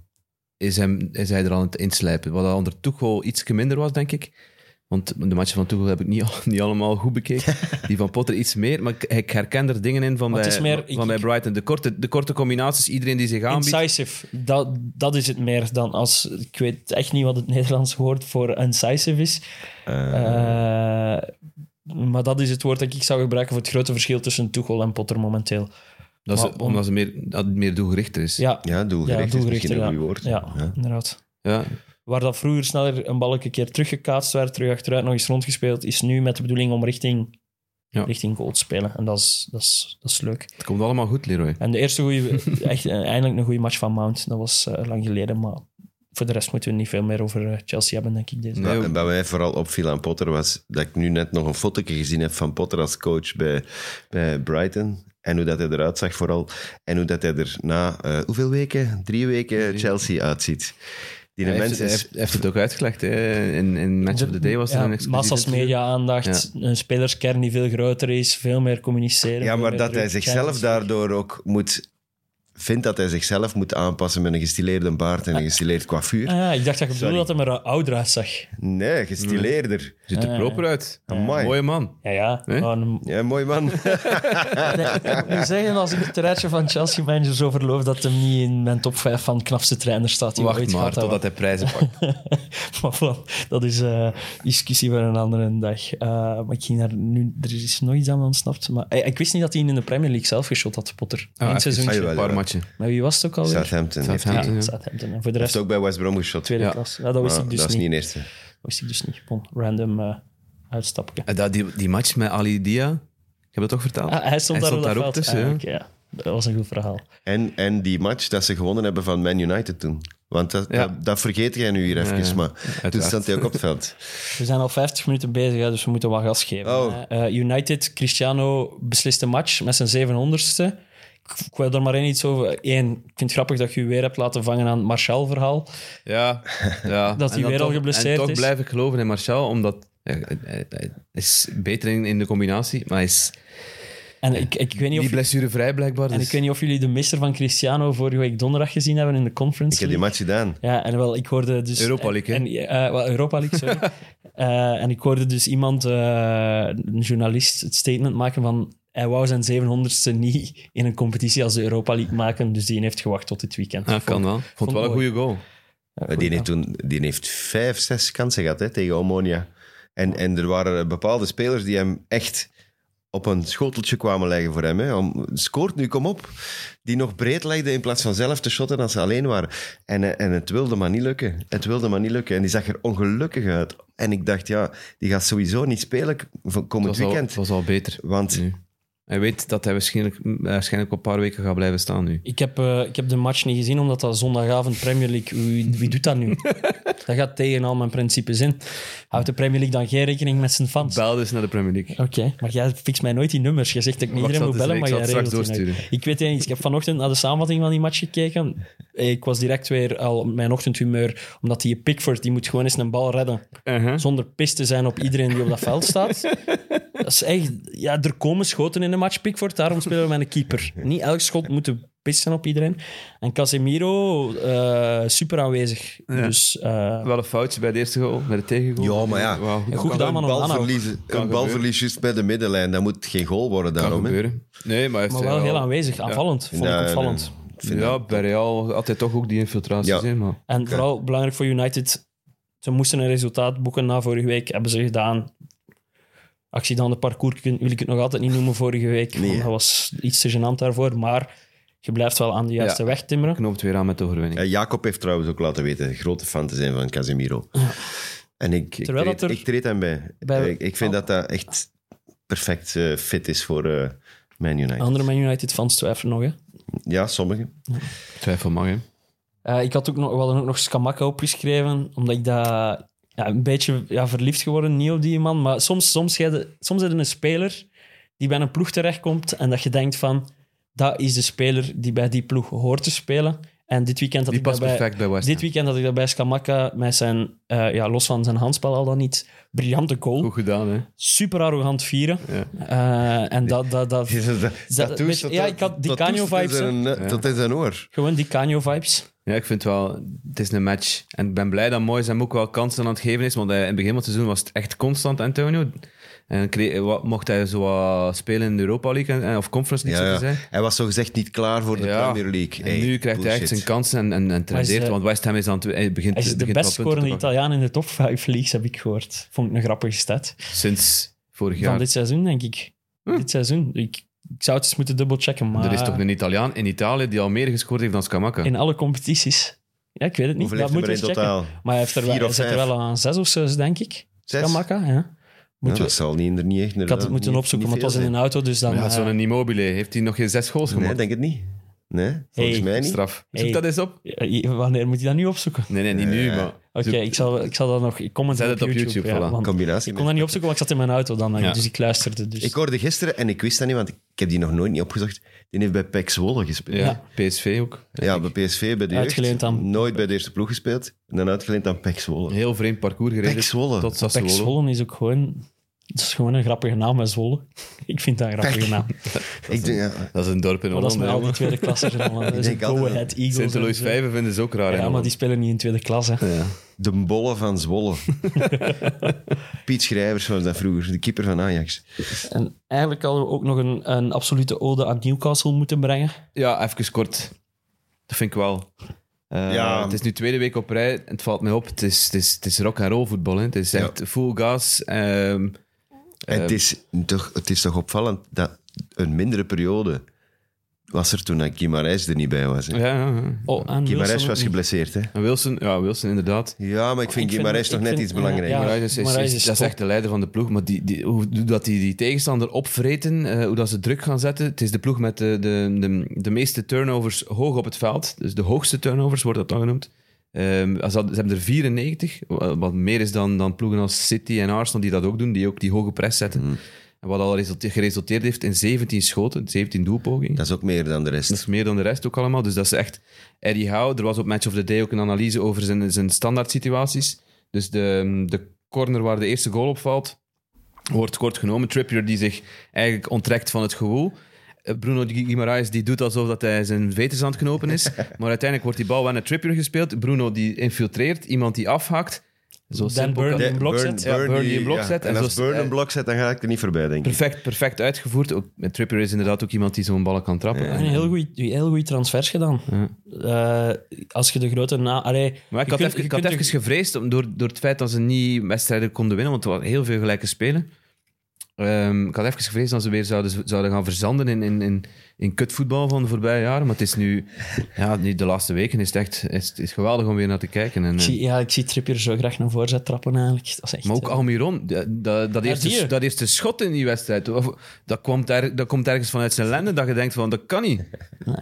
D: is, hem, is hij er aan het inslijpen. Wat al onder Tuchel iets minder was, denk ik. Want de matchen van Tuchel heb ik niet, al- *laughs* niet allemaal goed
C: *laughs*
D: bekeken. Die van Potter iets meer. Maar ik, ik herken er dingen in van,
C: Maar het
D: bij,
C: is meer-
D: van
C: ik-
D: bij
C: ik-
D: Brighton. De korte, de korte combinaties, iedereen die zich aanbiedt.
C: Incisive, dat, dat is het meer dan als... Ik weet echt niet wat het *laughs* Nederlands woord voor incisive is. Eh, maar dat is het woord dat ik zou gebruiken voor het grote verschil tussen Tuchel en Potter momenteel.
D: Dat is,
C: Maar om-
D: omdat ze meer, dat het meer doelgerichter is.
C: Ja,
B: Ja,
C: ja,
B: doelgericht is
C: doelgerichter,
B: misschien een
C: ja.
B: goed woord.
C: Ja, inderdaad.
D: Ja.
C: Waar dat vroeger sneller een bal een keer teruggekaatst werd, terug achteruit nog eens rondgespeeld, is nu met de bedoeling om richting,
D: Ja.
C: richting goal te spelen. En dat is, dat, is, dat is leuk.
D: Het komt allemaal goed, Leroy.
C: En de eerste goede, *laughs* echt eh, eindelijk een goede match van Mount. Dat was eh, lang geleden, maar voor de rest moeten we niet veel meer over eh, Chelsea hebben, denk ik. Deze.
D: Nee.
B: Wat bij mij vooral opviel aan Potter was dat ik nu net nog een fotootje gezien heb van Potter als coach bij, bij Brighton. En hoe dat hij eruit zag vooral. En hoe dat hij er na eh, hoeveel weken? Drie weken Chelsea uitziet. Die
D: Hij heeft,
B: mens
D: hij
B: is...
D: heeft, hij heeft het ook uitgelegd. Hè? In, in Match of the Day was er
C: Ja,
D: een exclusieve
C: Massas
D: interview.
C: media-aandacht, een spelerskern die veel groter is, veel meer communiceren.
B: Ja,
C: veel
B: maar
C: meer
B: dat hij
C: druk,
B: zichzelf
C: channels.
B: daardoor ook moet... Vindt dat hij zichzelf moet aanpassen met een gestileerde baard en een gestileerd coiffure.
C: Ah, ja, ik dacht dat je bedoelde
B: Sorry.
C: dat hij er eh, ouder uitzag.
B: Nee, gestileerder.
D: Ziet er
C: Ja,
D: proper uit.
B: Amai.
D: Mooie man.
C: Ja, ja.
D: Hè?
C: Maar een-
B: Ja, mooi man.
C: Nee, ik moet zeggen, als ik het rijtje van Chelsea-manager zo verloof, dat hem niet in mijn top 5 van knapste trainer staat die we
D: Wacht
C: ooit
D: maar
C: gehad hebben.
D: totdat hij prijzen
C: *laughs*
D: pakt.
C: maar voilà, dat is eh discussie voor een andere dag. Eh, maar ik ging daar nu... Er is nog iets aan me ontsnapt. Maar eh, ik wist niet dat hij in de Premier League zelf geschot had, Potter. Eén
D: Ah, even-
C: seizoentje.
B: Ah,
D: Een
B: jawel,
D: paar
B: ja.
D: matchen.
C: Maar wie was het ook alweer?
B: Southampton. heeft hij.
D: Southampton.
C: Ja,
D: ja.
C: Southampton. En voor de rest
B: Heeft ook bij West Brom geschot.
C: tweede
D: Ja.
C: klas. Ja, dat wist
B: Maar
C: ik dus
B: dat is
C: niet.
B: niet een eerste.
C: Dat wist ik dus niet. Bon, random eh uitstapje.
D: En Eh, dat, die, die match met Ali Dia, ik heb dat toch verteld?
C: Ah, hij stond
D: Hij
C: daar,
D: stond
C: op dat
D: daar ook
C: veld.
D: tussen,
C: Ah,
D: ja.
C: oké, ja. Dat was een goed verhaal.
B: En, en die match dat ze gewonnen hebben van Man United toen. Want dat,
D: Ja.
B: dat, dat vergeet jij nu hier even,
D: ja.
B: maar toen
D: Uiteraard.
B: stond hij ook op het veld.
C: We zijn al 50 minuten bezig, hè, dus we moeten wat gas geven.
B: Oh.
C: Eh, United, Cristiano beslist de match met zijn 700ste. Ik ik wil er maar één iets over. Eén, ik vind het grappig dat je je weer hebt laten vangen aan het Martial-verhaal.
B: *laughs*
D: Ja. ja.
C: Dat hij
D: En dan
C: weer al
D: toch-
C: geblesseerd
D: En toch
C: is.
D: blijf ik geloven in Martial, omdat ja, hij, hij- hij is beter in, in de combinatie, maar hij is
C: En ik, ik, weet niet
D: niet
C: of,
D: blessurevrij blijkbaar.
C: en
D: Dus.
C: ik weet niet of jullie de mister van Cristiano vorige week donderdag gezien hebben in de conference.
B: Ik heb die
C: League.
B: match gedaan.
C: Ja, en wel, ik hoorde dus...
D: Europa League, hè?
C: en, eh, wel, Europa League, sorry.
D: *laughs*
C: Eh, en ik hoorde dus iemand, eh, een journalist, het statement maken van... Hij wou zijn 700ste niet in een competitie als de Europa League maken, dus die heeft gewacht tot dit weekend.
D: Ah, kan wel. Ik vond
C: vond
D: het wel een
C: mooi.
D: goede goal.
B: Maar Eh, die, heeft toen, die heeft vijf, zes kansen gehad hè, tegen Omonia. En, en er waren bepaalde spelers die hem echt op een schoteltje kwamen leggen voor hem. Hè, om, scoort nu, kom op. Die nog breed legden in plaats van zelf te shotten als ze alleen waren. En, eh, en het wilde maar niet lukken. Het wilde maar niet lukken. En die zag er ongelukkig uit. En ik dacht, ja, die gaat sowieso niet spelen k- van
D: Het
B: komend
D: was, al,
B: weekend.
D: het was al beter.
B: Want
D: Nu. Hij weet dat hij waarschijnlijk, waarschijnlijk op een paar weken gaat blijven staan nu.
C: Ik heb, eh, ik heb de match niet gezien, omdat dat zondagavond Premier League... Wie, wie doet dat
D: *laughs*
C: nu? dat gaat tegen al mijn principes in. Houdt de Premier League dan geen rekening met zijn fans?
D: Bel dus naar de Premier League.
C: Oké, maar jij fixt mij nooit die nummers. Je zegt dat ik niet
D: Wacht,
C: iedereen moet
D: zal
C: bellen,
D: het
C: maar
D: eens-
C: jij
D: ik zal het
C: regelt
D: straks
C: die nooit. Ik weet het niet. Ik heb vanochtend naar de samenvatting van die match gekeken. Ik was direct weer al op mijn ochtendhumeur, omdat die Pickford, die moet gewoon eens een bal redden.
D: Uh-huh.
C: Zonder pis te zijn op iedereen die op dat veld staat.
D: *laughs*
C: Dat is echt... Ja, er komen schoten in de match, Pickford. Daarom spelen we met een keeper. Niet elk schot moet de pis zijn op iedereen. En Casemiro, eh, super aanwezig. Dus... eh,
D: Wel een foutje bij de eerste goal, bij de tegengoal.
B: Ja, maar ja.
D: Wauw,
C: Goed
D: kan-
C: gedaan,
B: Een
C: man. Onana ook.
B: balverlies, een
D: gebeuren.
B: balverlies juist bij de middenlijn. Dat moet geen goal worden
D: kan
B: daarom. hè.
D: gebeuren. Nee, maar, hij heeft
C: maar wel
D: hij
C: heel aanwezig. Aanvallend, vond ik
B: Ja,
C: opvallend.
B: Vind
D: Ja, bij Real altijd toch ook die infiltraties.
B: Ja.
D: hè, maar
C: En vooral belangrijk voor United. Ze moesten een resultaat boeken na vorige week. Hebben ze gedaan. Actie dan de parcours kun- wil ik het nog altijd niet noemen vorige week.
B: Nee,
C: want
B: hè.
C: dat was iets te gênant daarvoor. Maar je blijft wel aan de juiste
D: Ja.
C: weg timmeren.
D: knoopt weer aan met de overwinning.
B: Eh, Jacob heeft trouwens ook laten weten grote fan te zijn van Casemiro. En ik, ik,
C: Terwijl
B: treed,
C: dat er-
B: ik treed hem bij. Eh,
C: bij- Ah.
B: ik, ik vind dat dat echt perfect eh, fit is voor eh, Man United.
C: Andere Man United-fans twijfelen nog. Hè.
B: Ja, sommigen.
C: *laughs*
D: Twijfel mag, hè.
C: Eh, ik had ook nog, we hadden ook nog Skamaka opgeschreven, omdat ik daar ja, een beetje ja, verliefd geworden, niet op die man. Maar soms, soms, jij de- soms heb je een speler die bij een ploeg terechtkomt en dat je denkt van, dat is de speler die bij die ploeg hoort te spelen. En dit weekend had
D: Die
C: ik
D: past
C: daarbij,
D: perfect bij West Ham.
C: dit weekend had ik daarbij Skamaka met zijn, eh, ja, los van zijn handspel al dan niet, briljante goal.
D: Goed gedaan, hè.
C: Super arrogant vieren.
D: Ja.
C: Eh, en dat, dat, dat,
B: Dat,
C: dat-
B: doet
C: weet je,
B: tot-
C: ja, ik had die
B: tot- tot-
C: Canio-vibes,
B: tot in zijn- eh, Tot in zijn oor.
C: gewoon die Canio-vibes.
D: Ja, ik vind wel, het is een match. En ik ben blij dat Moyes hem ook wel kansen aan het geven is. Want hij- in het begin van het seizoen was het echt constant, Antonio. En kreeg, wat, mocht hij zo wat spelen in de Europa League en, of Conference League,
B: Ja,
D: zo
B: ja.
D: te zeggen.
B: Hij was zogezegd niet klaar voor de
D: Ja.
B: Premier League.
D: En
B: Hey,
D: nu krijgt hij echt
B: bullshit.
D: zijn kansen en, en, en
C: is,
D: tradeert.
C: eh,
D: want West Ham is aan het... Hij begint,
C: Hij is de
D: begint
C: best
D: wel
C: scorende
D: punten te pakken.
C: Italiaan in de top 5 leagues, heb ik gehoord. Vond ik een grappige stat.
D: Sinds vorig
C: Van
D: jaar.
C: dit seizoen, denk ik. Dit seizoen. Ik, ik zou het eens moeten dubbelchecken, maar...
D: Hm. Er is toch een Italiaan in Italië die al meer gescoord heeft dan Scamacca.
C: In alle competities. Ja, ik weet het niet.
B: Hoeveel
C: dat
B: heeft hij er
C: moeten we
B: in
C: checken.
B: totaal?
C: Maar hij, heeft er wel,
B: Vier of
C: hij zit er
B: vijf?
C: wel aan zes of zes, denk ik.
B: Zes?
C: Kamaka, ja. Moeten
B: Ja,
C: we-
B: dat zal niet, er niet echt...
C: ik had het moeten opzoeken, want het was in een auto, dus dan...
D: Maar ja,
C: eh,
D: zo'n Immobile, heeft hij nog geen zes goals
B: Nee,
D: gemaakt?
B: denk het niet. Nee, volgens
C: Hey,
B: mij niet.
D: Straf.
C: Hey.
D: Zoek dat eens op.
C: eh, Wanneer moet hij dat nu opzoeken?
D: Nee, nee, niet nu, maar...
C: Oké,
D: zoek-
C: ik, zal, ik zal dat nog... Ik comment
D: Zet
C: op
D: het op
C: YouTube.
D: YouTube,
C: ja,
D: voilà.
C: want
B: Combinatie.
C: ik
B: met-
C: kon dat niet opzoeken, want ik zat in mijn auto dan. eh,
D: Ja.
C: Dus ik luisterde. Dus.
B: Ik hoorde gisteren, en ik wist dat niet, want ik heb die nog nooit niet opgezocht. Die heeft bij PEC Zwolle gespeeld. Ja,
D: Ja, PSV ook.
B: bij PSV, bij de jeugd.
C: Uitgeleend aan-
B: Nooit bij de eerste ploeg gespeeld. En dan uitgeleend aan PEC Zwolle.
D: Een heel vreemd parcours gereden.
B: PEC Zwolle.
D: Tot
C: Pek
D: Sassuolo.
C: Zwolle is ook gewoon... Het is gewoon een grappige naam bij Zwolle. *laughs* Ik vind dat een grappige naam.
B: Ik denk, ja,
D: Dat is een dorp in
C: Maar dat is
D: Holland.
C: met al die
D: hè.
C: tweede
D: *laughs*
C: klassers in Holland. Dus
B: denk
C: Go
B: altijd
C: Ahead Eagles.
D: sint
C: en
D: louis
C: zo.
D: Vijven vinden ze ook
C: Ja,
D: raar. in
C: maar die
D: Holland.
C: spelen niet in tweede klas. Hè.
D: Ja.
B: de bollen van *laughs* Zwolle. Piet Schrijvers was dat vroeger, de keeper van Ajax.
C: En eigenlijk hadden we ook nog een, een absolute ode aan Newcastle moeten brengen.
D: ja, even kort. Dat vind ik wel. Eh,
B: Ja.
D: Het is nu tweede week op rij. Het valt mij op. Het is, het is, het is rock and roll voetbal. Hè. Het is echt full gas. ehm,
B: En het, is toch, het is toch opvallend dat een mindere periode was er toen dat Guimarães er niet bij was. hè.
D: ja, ja, ja.
C: Oh, en
B: Guimarães
C: Wilson
B: was
C: ook niet.
B: geblesseerd, hè?
D: En Wilson, ja, Wilson inderdaad.
B: Ja, maar ik vind
C: Ik vind-
B: Guimarães
C: ik
B: nog net
C: vind-
B: iets
C: ja,
B: belangrijker.
C: ja.
D: Maar hij is, is,
C: Marais
D: is-
C: is
D: dat is
C: top.
D: echt de leider van de ploeg. Maar die, die, hoe dat die, die tegenstander opvreten, eh, hoe dat ze druk gaan zetten. Het is de ploeg met de, de, de, de meeste turnovers hoog op het veld. Dus de hoogste turnovers wordt dat dan genoemd. Ehm, als dat- ze hebben er 94, wa- wat meer is dan, dan ploegen als City en Arsenal die dat ook doen, die ook die hoge press zetten. En wat al resulte- geresulteerd heeft in 17 schoten, 17 doelpogingen.
B: Dat is ook meer dan de rest.
D: Dat is meer dan de rest ook allemaal. Dus dat is echt Eddie Howe. Er was op Match of the Day ook een analyse over zijn, zijn standaard situaties. Dus de, de corner waar de eerste goal op valt, wordt kort genomen. Trippier die zich eigenlijk onttrekt van het gewoel. Eh, Bruno Gu- Guimaraes die doet alsof dat hij zijn veters aan het knopen is. Maar uiteindelijk wordt die bal wel naar Trippier gespeeld. Bruno die infiltreert, iemand die afhakt. Zo
C: Dan
D: simpel kan-
C: Burn- in blok zet.
D: Ja, Burn die in blok zet.
B: En,
D: En
B: als
D: zo-
B: Burn een
D: eh,
B: blok zet, dan ga ik er niet voorbij, denk ik.
D: Perfect, perfect uitgevoerd. Ook, eh, Trippier is inderdaad ook iemand die zo'n ballen kan trappen.
C: Een heel goede heel goeie transfers gedaan. Eh, als je de grote na... Allee,
D: Maar ik
C: je
D: had,
C: kunt-
D: even,
C: je
D: ik had
C: kunt de-
D: even gevreesd om- door, door het feit dat ze niet wedstrijden konden winnen, want er waren heel veel gelijke spelen. Ehm, ik had even gevreesd dat ze weer zouden, zouden gaan verzanden in, in, in, in kutvoetbal van de voorbije jaren. Maar het is nu, ja, nu de laatste weken is het echt is, het is geweldig om weer naar te kijken. En,
C: Ik
D: eh,
C: zie, ja, ik zie Trippier zo graag naar voren zetten trappen eigenlijk. Dat is echt,
D: maar ook
C: eh,
D: Almiron, dat, dat, dat,
C: die.
D: eerste, dat eerste schot in die wedstrijd, of- dat, kwam daar, dat komt ergens vanuit zijn lenden dat je denkt van, dat kan
C: *laughs*
D: niet.
C: nee.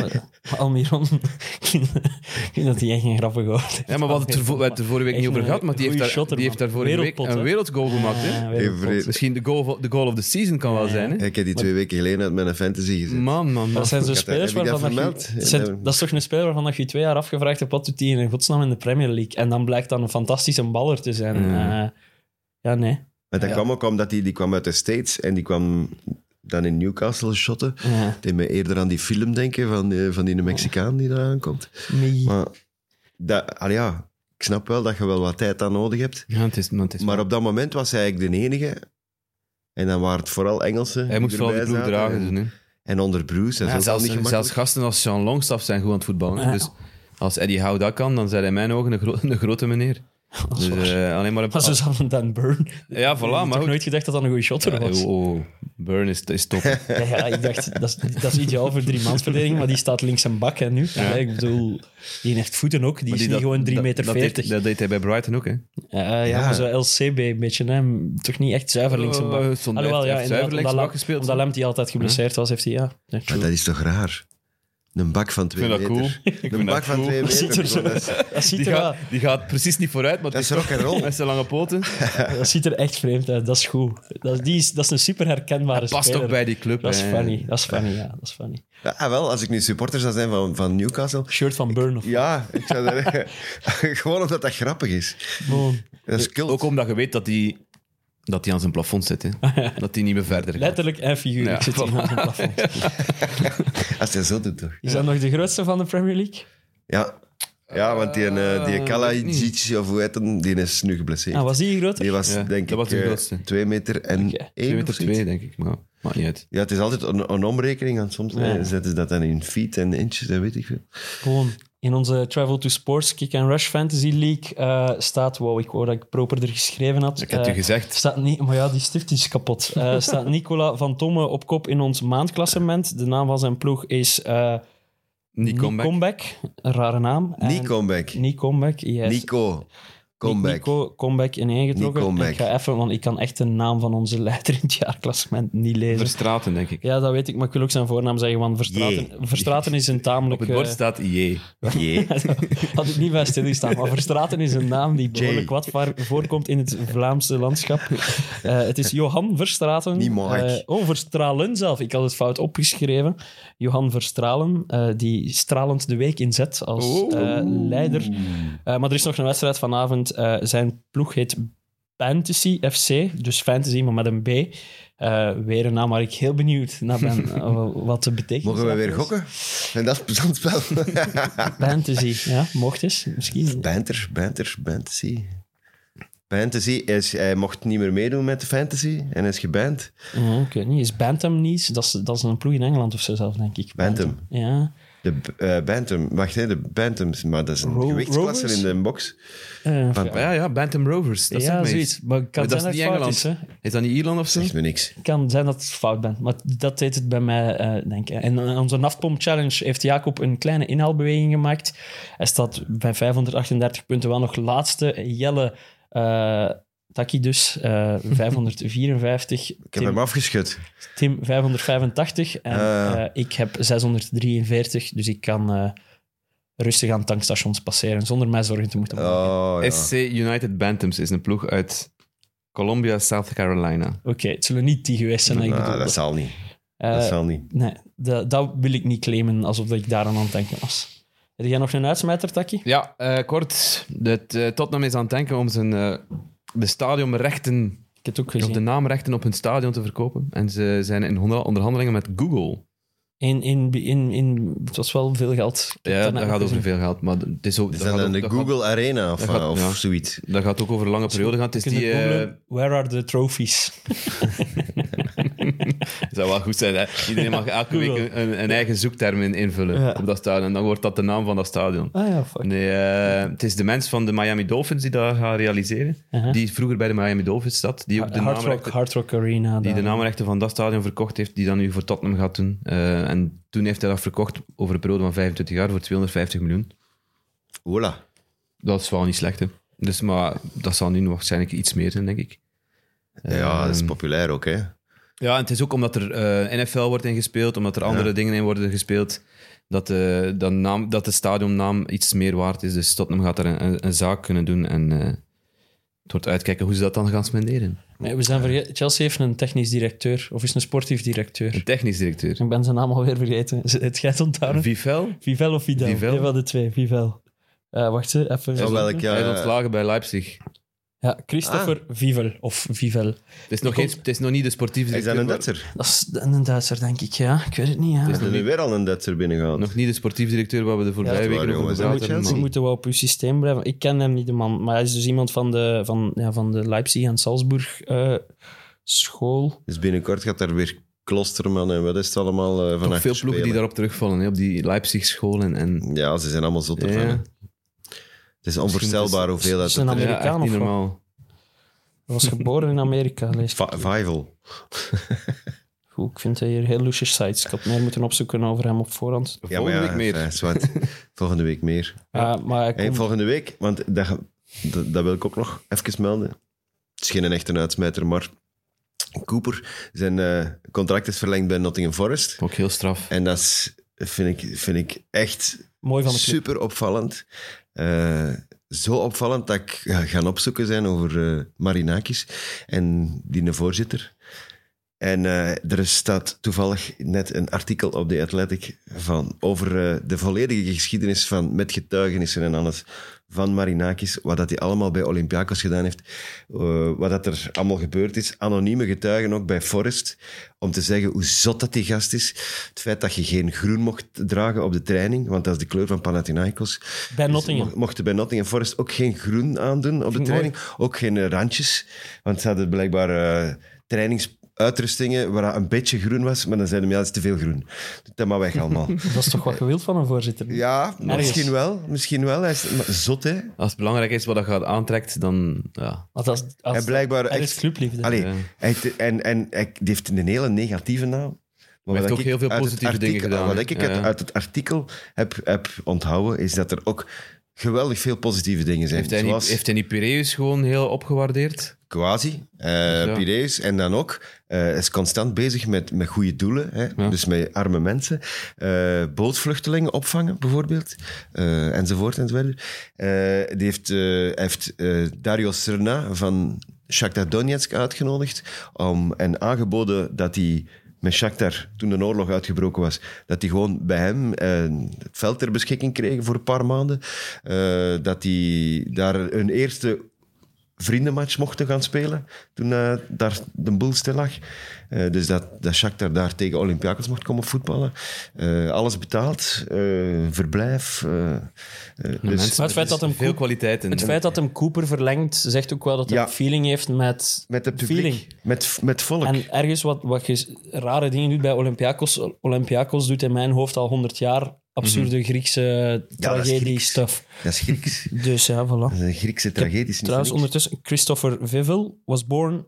C: Maar- maar Almiron, *laughs* ik vind- ik vind dat hij echt geen grappige hoort.
D: Ja, maar we hadden het er, vo- we hebben het er vorige week
C: Echt
D: niet over
C: een
D: gehad, maar die heeft
C: goeie
D: daar,
C: shotter,
D: die heeft
C: man.
D: daar vorige week
C: Wereldpot, hè?
D: een wereldgoal gemaakt. hè.
B: vreemd.
D: Misschien de goal, van- de goal of the season kan wel zijn. Hè?
B: Ik heb die twee weken geleden uit mijn fantasy gezet.
D: Man, man, man.
C: Dat zijn zo
B: Ik had-
C: spelers
B: heb ik dat
C: waarvan dat je...
B: vermeld?
C: dat zijn-
B: Ja.
C: dat is toch een speler waarvan dat je twee jaar afgevraagd hebt, wat doet hij in godsnaam in de Premier League? En dan blijkt dan een fantastische baller te zijn.
D: Ja.
C: Eh, ja, nee.
B: Maar dat
D: Ja.
B: kwam ook omdat die, die kwam uit de States en die kwam dan in Newcastle shotten.
C: Ja.
B: Het deed me eerder aan die film denken van, eh, van
D: Oh.
B: die Mexicaan die daar aankomt.
C: Nee.
B: Maar dat, al ja, ik snap wel dat je wel wat tijd aan nodig hebt.
D: Ja, het is, maar het is
B: Maar op dat moment was hij eigenlijk de enige. En dan waren het vooral Engelsen.
D: Hij moet
B: die
D: vooral de
B: erbij
D: ploeg
B: zaten.
D: dragen.
B: En,
D: doen, hè.
B: en onder Bruce, dat is ook
D: Ja,
B: al niet
D: zelfs,
B: gemakkelijk.
D: zelfs gasten als Sean Longstaff zijn goed aan het voetballen.
C: Ja.
D: Dus als Eddie Howe dat kan, dan zijn hij in mijn ogen een, gro- een grote meneer.
C: Dat is
D: Dus,
C: waar.
D: eh, alleen maar een
C: Maar zo
D: als-
C: zouden Dan Burn.
D: Ja, voilà, maar
C: Ik
D: goed.
C: heb nooit gedacht dat dat een goede shotter was.
D: Ja, oh, oh, Burn is,
B: *laughs*
D: is top.
C: Ja, ja, ik dacht, dat is, dat is ideaal voor drie mansverdediging, maar die staat links en bak hè, nu. Ja, ik bedoel, die heeft voeten ook, die
D: Maar
C: is
D: die
C: niet
D: dat-
C: gewoon 3,40
D: dat-
C: meter.
D: Dat, deed- dat deed hij bij Brighton ook, hè?
C: ja, ja,
B: Ja.
C: maar zo LCB een beetje, hè. toch niet echt zuiver links en bak.
D: Oh, hij stond-
C: Alhoewel,
D: hij
C: ja, inderdaad,
D: heeft zuiver links
C: omdat
D: bak gespeeld.
C: Omdat Lem die altijd geblesseerd was, heeft hij, ja. ja,
D: *laughs*
B: Maar
C: true.
B: dat is toch raar? Een bak van twee
D: vind dat
B: meter.
D: cool. Ik
B: Een
D: vind
B: bak
D: dat
B: van
D: cool.
B: twee
C: Dat
B: meter.
C: ziet er zo-
B: dat, is,
C: Dat ziet,
D: Die
C: er wel-
D: gaat, die gaat precies niet vooruit, maar
B: dat
D: het
B: is
D: is
B: rock and roll.
D: met zijn lange poten.
C: dat ziet er echt vreemd uit, dat is goed. Dat, die is, dat is een super herkenbare
D: Dat past
C: speler.
D: ook bij die club.
C: Dat is
D: hè.
C: funny, dat is funny, ja, dat is funny.
B: Ah, wel, als ik nu supporter zou zijn van, van Newcastle.
C: Shirt van Burn *laughs* of
B: Ja, ik zou daar- *laughs* gewoon omdat dat grappig is.
C: Burn.
B: Dat is cult.
D: Ook omdat je weet dat hij dat die aan zijn plafond zit.
C: *laughs*
D: Hè. Dat hij niet meer verder gaat.
C: Letterlijk en figuurlijk
D: Ja,
C: zit hij aan het plafond.
D: *laughs*
B: Als hij zo doet, toch?
C: Is dat nog de grootste van de Premier League?
B: Ja, ja want die, eh die
D: Eh,
B: Kalajic, of hoe heet hem, die is nu geblesseerd.
C: Ah, was die groter?
B: die was,
D: Ja,
B: denk
D: dat was
B: ik,
D: de
B: eh,
D: grootste.
B: twee meter en
C: Oké,
B: één
D: Twee
B: of
D: meter
B: zoiets.
D: twee, denk ik. Maar maakt niet uit.
B: Ja, het is altijd een, een omrekening, want soms
C: Ja.
B: eh, zetten ze dat dan in feet en inches, dat weet ik veel.
C: Gewoon in onze Travel to Sports Kick and Rush Fantasy League eh, staat, wow, ik wou dat ik proper er geschreven had.
D: Ik heb het
C: Eh,
D: u gezegd.
C: Staat niet, maar ja, die stift is kapot.
D: *laughs*
C: Eh, staat Nicola van Tomme op kop in ons maandklassement. De naam van zijn ploeg is eh
D: Niet comeback.
C: Comeback. Een rare naam. En-
B: Niet comeback.
C: Nick Comeback, yes.
B: Nico, comeback.
C: Nico Comeback ineengetrokken.
B: Nico
C: Ik ga even, want ik kan echt de naam van onze leider in het jaarklassement niet lezen.
D: Verstraten, denk ik.
C: ja, dat weet ik, maar ik wil ook zijn voornaam zeggen, want Verstraten,
B: Jee.
C: Verstraten is een tamelijk...
D: Op het bord
C: eh,
D: staat IE.
B: Yeah.
C: Had ik niet bij stilgestaan. Maar Verstraten is een naam die behoorlijk wat vaar- voorkomt in het Vlaamse landschap. Eh, het is Johan Verstraten.
B: Niet Mike.
C: Eh, oh, Verstralen zelf. Ik had het fout opgeschreven. Johan Verstralen, eh, die stralend de week inzet als
B: Oh.
C: eh, leider. Eh, maar er is nog een wedstrijd vanavond. Eh, zijn ploeg heet Fantasy FC. Dus Fantasy, maar met een B. Eh, weer een naam waar ik heel benieuwd naar
B: *laughs*
C: ben eh, wat de betekenis
B: Mogen we
C: daarvan
B: weer
C: is.
B: gokken? En dat is zo'n spel. *laughs*
C: Fantasy, ja, mocht eens. Misschien.
B: banter, banter, fantasy. Fantasy, is, hij mocht niet meer meedoen met de fantasy en is geband.
C: Ja, ik weet niet. Is Bantam niet? Dat is, dat is een ploeg in Engeland of zo zelf, denk ik.
B: Bantam.
C: Ja.
B: De b- eh, Bantam, wacht hè, de Bantams, maar dat is een
C: Ro-
B: gewichtsklasse in
C: Rovers?
B: de box.
C: Eh,
B: Van-
D: *laughs* Ja, ja, Bantam Rovers. Dat
C: ja,
D: zegt mij iets.
C: zoiets. Maar het kan
D: Maar dat
C: zijn
D: is
C: dat
D: niet
C: het fout is. Hè?
D: Engeland. Is dat niet Ierland of zo?
B: Zegt me niks.
C: Het kan zijn dat het fout bent. Maar dat deed het bij mij eh, denken. En eh, onze Naftpomp Challenge heeft Jacob een kleine inhaalbeweging gemaakt. Hij staat bij 538 punten wel nog laatste. Jelle eh Taki dus,
D: *laughs*
C: eh, 554.
B: Ik heb hem afgeschud.
C: Tim 585 en
B: Ah.
C: eh, ik heb 643, dus ik kan eh, rustig aan tankstations passeren zonder mij zorgen te moeten maken.
B: Oh, ja.
D: SC United Bantams is een ploeg uit Columbia, South Carolina.
C: Oké, het zullen niet die geweest zijn. ik
B: Nou,
C: bedoel,
B: dat zal niet.
C: Eh,
B: dat zal niet.
C: Nee, dat, dat wil ik niet claimen alsof ik daaraan aan het denken was. Heb jij nog een uitsmijter, Taki?
D: Ja, eh, kort. Dat, eh, Tottenham is aan het denken om zijn, eh, de stadionrechten,
C: Ik heb het ook
D: of de
C: gezien.
D: naamrechten op hun stadion te verkopen. En ze zijn in onder- onderhandelingen met Google.
C: In, in, in, in, het was wel veel geld. Ik heb
D: Ja,
C: het
D: dat
C: daarnet
D: gaat
C: ook
D: over
C: gezien.
D: veel geld. Maar het is ook,
B: Is
D: gaat
B: dat dan
D: ook-
B: de
D: dat
B: Google Arena of,
D: dat gaat-
B: eh, of
D: ja.
B: zoiets?
D: gaat- dat gaat ook over eh, een lange periode gaan. Het is
C: Kunnen
D: die, eh,
C: googlen, Where are the trophies?
D: zou wel goed zijn. Hè? Iedereen mag elke week een, een- een eigen zoekterm in- invullen op dat stadion. En dan wordt dat de naam van dat stadion.
C: Ah ja, fuck.
D: Nee, eh, het is de mens van de Miami Dolphins die dat gaat realiseren.
C: Uh-huh.
D: Die vroeger bij de Miami Dolphins zat. Die ook de
C: Hard Rock,
D: naamrechten-
C: Hard Rock Arena.
D: die de
C: daar.
D: naamrechten van dat stadion verkocht heeft, die dat nu voor Tottenham gaat doen. Eh, en toen heeft hij dat verkocht over een periode van 25 jaar voor 250 miljoen.
B: Voilà.
D: Dat is wel niet slecht, hè. Dus, maar dat zal nu nog waarschijnlijk iets meer zijn, denk ik.
B: Ja, dat is
D: Ehm,
B: populair ook, hè.
D: Ja, en het is ook omdat er eh, NFL wordt ingespeeld, omdat er andere dingen in worden gespeeld, dat de, dat naam, dat de stadionnaam iets meer waard is. Dus Tottenham gaat daar een, een, een zaak kunnen doen en eh, het wordt uitkijken hoe ze dat dan gaan spenderen.
C: Nee, we zijn verge- Chelsea heeft een technisch directeur, of is een sportief directeur.
D: Een technisch directeur.
C: Ik ben zijn naam alweer vergeten. Is *laughs* Het gaat onthouden.
D: Vivel,
C: Vivel of Vidal?
D: Vivel.
C: Een van de twee, Vivel. Eh, wacht ze, even.
B: Van welk Ah.
D: hij is
B: jaar? eh,
D: ontslagen bij Leipzig.
C: Ja, Christopher Vivel of Vivel.
D: Het is nog, geen, het is nog niet de sportieve
B: Is
D: directeur.
B: dat een
D: maar-
B: Duitser?
C: Dat is een Duitser, denk ik. Ja, ik weet het niet. Ja.
B: Is er nu weer al een Duitser binnengehaald?
D: Nog niet de sportieve directeur waar we de voorbije
C: Ja,
B: dat is
D: weken
B: waar,
D: over
B: jongens.
D: gepraat
B: En
D: hebben.
B: Chelsea.
C: We moeten wel op uw systeem blijven. Ik ken hem niet, de man. Maar hij is dus iemand van de, van, ja, van de Leipzig en Salzburg eh, school.
B: Dus binnenkort gaat daar weer Klosterman en wat is het allemaal eh,
D: maar
B: vanaf
D: Toch veel ploegen die daarop terugvallen, hè, op die Leipzig-school en... en
B: Ja, ze zijn allemaal zotter
D: Ja.
B: van. hè. Het is onvoorstelbaar hoeveel dat...
C: Is een
B: het-
C: Amerikaan
D: ja, echt niet
C: of wat?
D: normaal.
C: Hij was geboren in Amerika. Lees.
B: Va- Vival.
C: Goed, ik vind hij hier heel lusje sites. Ik had meer moeten opzoeken over hem op voorhand.
B: Ja, maar
D: Volgende week meer.
B: ja, eh,
D: *laughs*
B: zwart. Volgende week meer.
C: Ja, Eh, maar hij
B: Hey,
C: komt-
B: volgende week, want dat, dat, dat wil ik ook nog even melden. Het is geen echte uitsmijter, maar Cooper, zijn eh, contract is verlengd bij Nottingham Forest.
D: Ook heel straf.
B: En dat is, vind, ik, vind ik echt
C: mooi van de club.
B: super opvallend. Eh, zo opvallend dat ik ja, gaan opzoeken zijn over eh Marinakis en die voorzitter. En eh, er staat toevallig net een artikel op The Athletic van, over eh, de volledige geschiedenis van, met getuigenissen en alles van Marinakis. Wat dat hij allemaal bij Olympiakos gedaan heeft. eh, wat dat er allemaal gebeurd is. Anonieme getuigen ook bij Forrest. Om te zeggen hoe zot dat die gast is. Het feit dat je geen groen mocht dragen op de training. Want dat is de kleur van Panathinaikos.
C: Bij
B: Dus
C: Nottingham.
B: mo- mochten bij Nottingham Forest ook geen groen aandoen op de training. Ook geen eh, randjes. Want ze hadden blijkbaar eh, trainingsuitrustingen waar dat een beetje groen was. Maar dan zeiden ze, ja, dat is te veel groen. Doe dat maar weg
C: *laughs*
B: allemaal.
C: Dat is toch wat je wilt van een voorzitter?
B: ja,
C: Ergens.
B: misschien wel. Misschien wel. Hij is maar zot, hè.
D: Als het belangrijk is wat dat gaat aantrekt, dan... Ja.
C: Want als, als,
B: Hij blijkbaar
C: er is
B: echt...
C: clubliefde.
B: Allee,
D: Ja.
B: hij heeft- en, en hij die heeft een hele negatieve naam. Maar
D: heeft
B: wat
D: ook
B: ik
D: heel veel
B: uit het
D: positieve
B: artikel-
D: dingen gedaan,
B: Wat ik
D: hè?
B: uit,
D: Ja, ja.
B: uit het artikel heb, heb onthouden, is dat er ook geweldig veel positieve dingen zijn.
D: Heeft, hij niet,
B: Zoals-
D: heeft hij niet Piraeus gewoon heel opgewaardeerd?
B: Quasi, eh Piraeus. En dan ook, eh, is constant bezig met, met goede doelen. Hè?
D: Ja.
B: Dus met arme mensen. Eh, bootvluchtelingen opvangen, bijvoorbeeld. Eh, enzovoort enzovoort. Eh, die heeft, eh, hij heeft eh, Dario Srna van Shakhtar Donetsk uitgenodigd. Om, en aangeboden dat hij met Shakhtar, toen de oorlog uitgebroken was, dat hij gewoon bij hem eh, het veld ter beschikking kreeg voor een paar maanden. Eh, dat hij daar een eerste vriendenmatch mochten gaan spelen toen eh, daar de boel stil lag. Eh, dus dat, dat Shakhtar daar tegen Olympiakos mocht komen voetballen. Eh, alles betaald, eh, verblijf. eh, eh, dus
D: Mensen,
C: Maar het feit
D: er is
C: dat hem
D: Veel
C: goed-
D: kwaliteiten.
C: Het feit dat hem Cooper verlengt, zegt ook wel dat hij
B: Ja.
C: feeling heeft met...
B: met het publiek,
C: Feeling.
B: met, met volk.
C: En ergens wat, wat je rare dingen doet bij Olympiakos. Olympiakos doet in mijn hoofd al 100 jaar absurde
B: Mhm.
C: Griekse tragedie-stuff.
B: Dat is Grieks. Dat
C: dus ja, voilà.
B: is een Griekse tragedie. is niet
C: Trouwens,
B: voor niks.
C: ondertussen, Christopher Vivel was born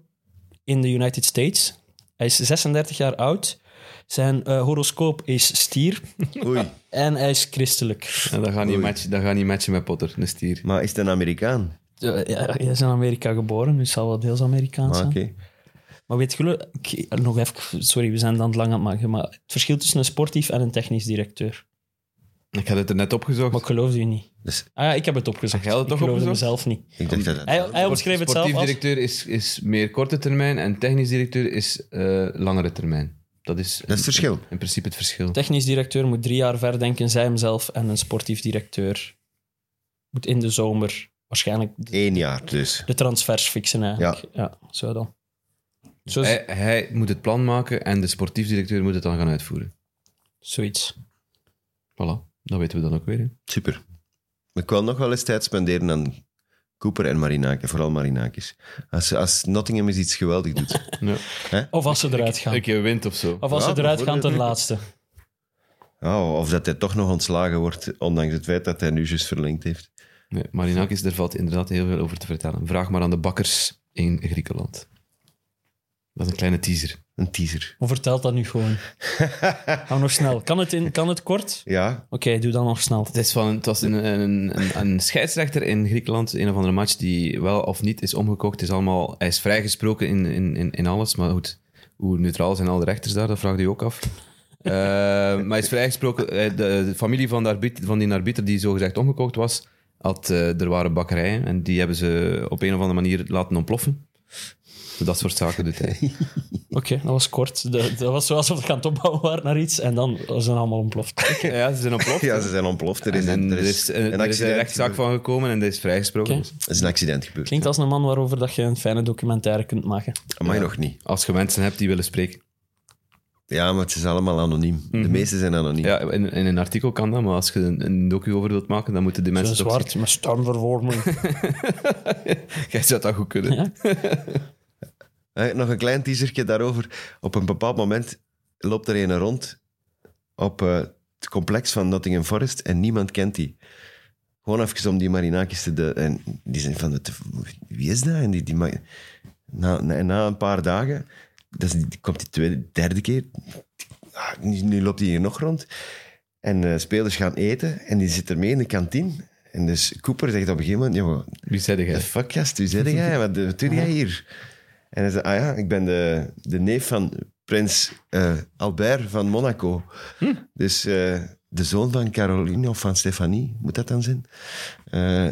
C: in the United States. Hij is 36 jaar oud. Zijn eh, horoscoop is stier.
B: Oei,
C: En hij is christelijk.
D: Ja, dat gaat niet matchen, dat gaat niet matchen met Potter, een stier.
B: maar is het een Amerikaan?
C: Ja, ja, hij is in Amerika geboren, dus zal wel deels Amerikaans
B: Ah,
C: zijn.
B: Oké.
C: Maar weet je, ik- nog even, sorry, we zijn het aan het lang aan het maken, maar het verschil tussen een sportief en een technisch directeur.
D: Ik had het er net opgezocht.
C: Maar ik geloof je niet.
B: Dus
C: Ah ja, ik heb het opgezocht.
D: Jij had het
C: ik
D: toch
C: geloofde
D: opgezocht?
C: mezelf niet.
B: ik dacht dat dat...
C: Hij, hij omschreef het zelf
D: Sportief
C: als...
D: directeur is, is meer korte termijn en technisch directeur is eh, langere termijn. Dat is,
B: is het verschil.
D: In, principe het verschil.
C: Technisch directeur moet drie jaar ver denken, zij hemzelf. En een sportief directeur moet in de zomer waarschijnlijk de,
B: Eén jaar dus.
C: de transfers fixen eigenlijk. Ja, zo dan. Zo,
D: Hij, hij moet het plan maken en de sportief directeur moet het dan gaan uitvoeren.
C: Zoiets.
D: Voilà, dat weten we dan ook weer. hè.
B: Super. Ik wil nog wel eens tijd spenderen aan Cooper en Marinakis, vooral Marinakis. Als, als Nottingham eens iets geweldig doet.
D: Ja.
C: Of als ze eruit gaan.
D: Een keer wint of zo.
C: Of als
B: Ja,
C: ze eruit gaan ten
B: bijvoorbeeld.
C: laatste.
B: Oh, of dat hij toch nog ontslagen wordt, ondanks het feit dat hij nu juist verlengd heeft.
D: Nee, Marinakis, daar valt inderdaad heel veel over te vertellen. Vraag maar aan de bakkers in Griekenland. Dat is een kleine teaser.
B: Een teaser.
C: Hoe vertelt dat nu
D: *laughs*
C: gewoon? Hou nog snel. Kan het, in, kan het kort?
B: Ja,
C: Oké, doe dan nog snel.
D: Het, is van, het was een, een, een, een scheidsrechter in Griekenland, een of andere match die wel of niet is omgekookt. Het is allemaal, hij is vrijgesproken in, in, in, in alles, maar goed, hoe neutraal zijn al de rechters daar, dat vraagt u ook af. Eh, maar hij is vrijgesproken, eh, de, de familie van, de arbiter, van die arbiter die zogezegd omgekookt was, had, eh, er waren bakkerijen en die hebben ze op een of andere manier laten ontploffen. Dat soort zaken doet hij.
C: Oké, dat was kort. Dat, dat was zoals we het gaan het opbouwen waren naar iets en dan zijn ze allemaal ontploft.
D: *laughs* Ja, ze zijn ontploft.
B: *laughs* ja ze zijn ontploft. Er is,
D: en
B: een,
D: er is, een, er is een
B: accident
D: rechtszaak
B: gebeurd.
D: van gekomen en er is vrijgesproken.
C: Oké.
D: Dus
B: Er is een accident gebeurd.
C: Klinkt als een man waarover dat je een fijne documentaire kunt maken.
B: Amai, nog niet.
D: Als je mensen hebt die willen spreken.
B: Ja, maar het is allemaal anoniem. De
D: Mhm.
B: meeste zijn anoniem.
D: Ja, in, in een artikel kan dat, maar als je een, een docu over wilt maken, dan moeten de
C: Zo
D: mensen... het ook
C: zwart, met stormvervorming.
D: zien. *laughs* Jij zou dat goed kunnen.
C: *laughs* Ja.
B: Eh, Nog een klein teasertje daarover. Op een bepaald moment loopt er een rond op eh, het complex van Nottingham Forest en niemand kent die. Gewoon even om die Marinakis te... De, en die zijn van, het, wie is dat? En die, die, ma- na, na, na een paar dagen, dat is, die- komt die tweede, derde keer, Ah, nu, nu loopt hij hier nog rond. En eh, spelers gaan eten en die zitten mee in de kantine. En dus Cooper zegt op een gegeven moment, ja, maar
D: Wie zei
B: de
D: jij?
B: fuck, gast, wie zit jij? Wat, wat doe jij hier? En hij zei, ah ja, ik ben de, de neef van prins eh, Albert van Monaco. Dus eh, de zoon van Caroline of van Stefanie, moet dat dan zijn? Eh,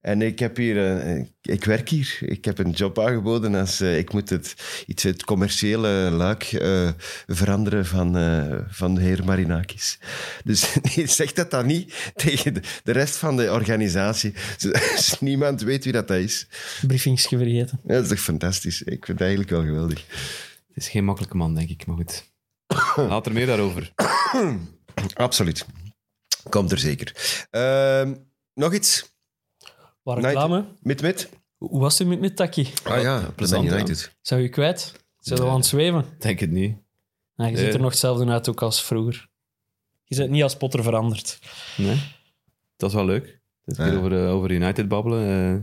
B: en ik heb hier, eh, ik- ik werk hier, ik heb een job aangeboden als eh, ik moet het, iets, het commerciële luik eh, veranderen van, eh, van de heer Marinakis. Dus *laughs* nee, zeg dat dan niet tegen de, de rest van de organisatie. Dus *laughs* niemand weet wie dat dat is.
C: Briefingsje vergeten.
B: Ja, dat is toch fantastisch? Ik vind het eigenlijk wel geweldig.
D: Het is geen makkelijke man, denk ik, maar goed. Later meer daarover.
B: Absoluut. Komt er zeker. Ehm, nog iets?
C: Waar
B: United.
C: reclame?
B: Mit, mit?
C: Hoe was het met Mittaki?
B: Ah ja,
D: plezant, ja.
C: Zou je kwijt? Zijn we aan het zweven?
D: Denk het niet.
C: Nou, je ziet er
D: Nee.
C: nog hetzelfde uit ook als vroeger. Je bent niet als Potter veranderd.
D: Nee? Dat is wel leuk. Het
B: Ja.
D: weer over, eh, over United babbelen. eh.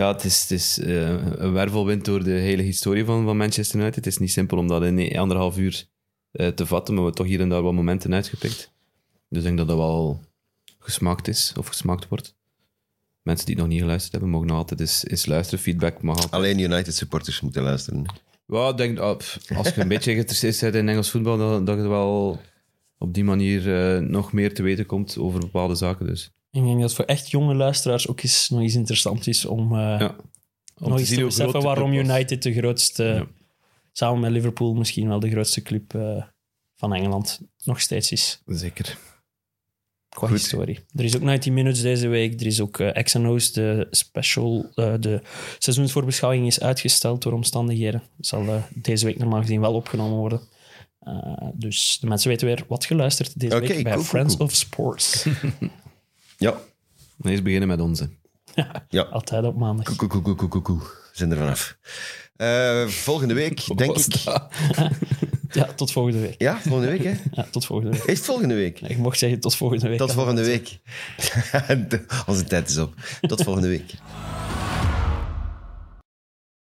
D: ja, het is, het is eh, een wervelwind door de hele historie van, van Manchester United. Het is niet simpel om dat in anderhalf uur eh, te vatten, maar we hebben toch hier en daar wat momenten uitgepikt. Dus ik denk dat dat wel gesmaakt is, of gesmaakt wordt. Mensen die het nog niet geluisterd hebben, mogen nog altijd eens, eens luisteren. Feedback mag altijd.
B: Alleen United supporters moeten luisteren.
D: Wel, ik denk, ah, pff, als je een *laughs* beetje geïnteresseerd bent in Engels voetbal, dan, dat je wel op die manier eh, nog meer te weten komt over bepaalde zaken. Dus.
C: Ik denk dat het voor echt jonge luisteraars ook eens, nog eens interessant is om, eh,
D: Ja.
C: om nog eens te beseffen waarom
D: United
C: United de grootste,
D: Ja.
C: samen met Liverpool misschien wel de grootste club eh, van Engeland nog steeds is.
D: Zeker.
C: Qua
B: Goed.
C: historie. Er is ook 90 Minutes deze week. Er is ook eh X O's. De special, eh, de seizoensvoorbeschouwing is uitgesteld door omstandigheden. Zal eh, deze week normaal gezien wel opgenomen worden. Eh, dus de mensen weten weer wat geluisterd deze
B: Oké,
C: week bij
B: cool, cool,
C: Friends
B: cool.
C: of
B: *laughs*
C: Sports.
B: Ja,
D: Eerst beginnen met onze.
B: ja.
C: Altijd op maandag.
B: Koe, koe, koe, koe, koe, koe, koe. We zijn er vanaf. Eh, volgende
D: *laughs*
B: week, denk
D: Was
B: ik.
D: dat?
C: Ja, tot volgende week.
B: Ja, volgende week, hè?
C: Ja, tot volgende week.
B: Is het volgende week?
C: Ik
B: *laughs*
C: mocht zeggen tot volgende week.
B: Tot volgende week. Onze tijd is op. Tot volgende week.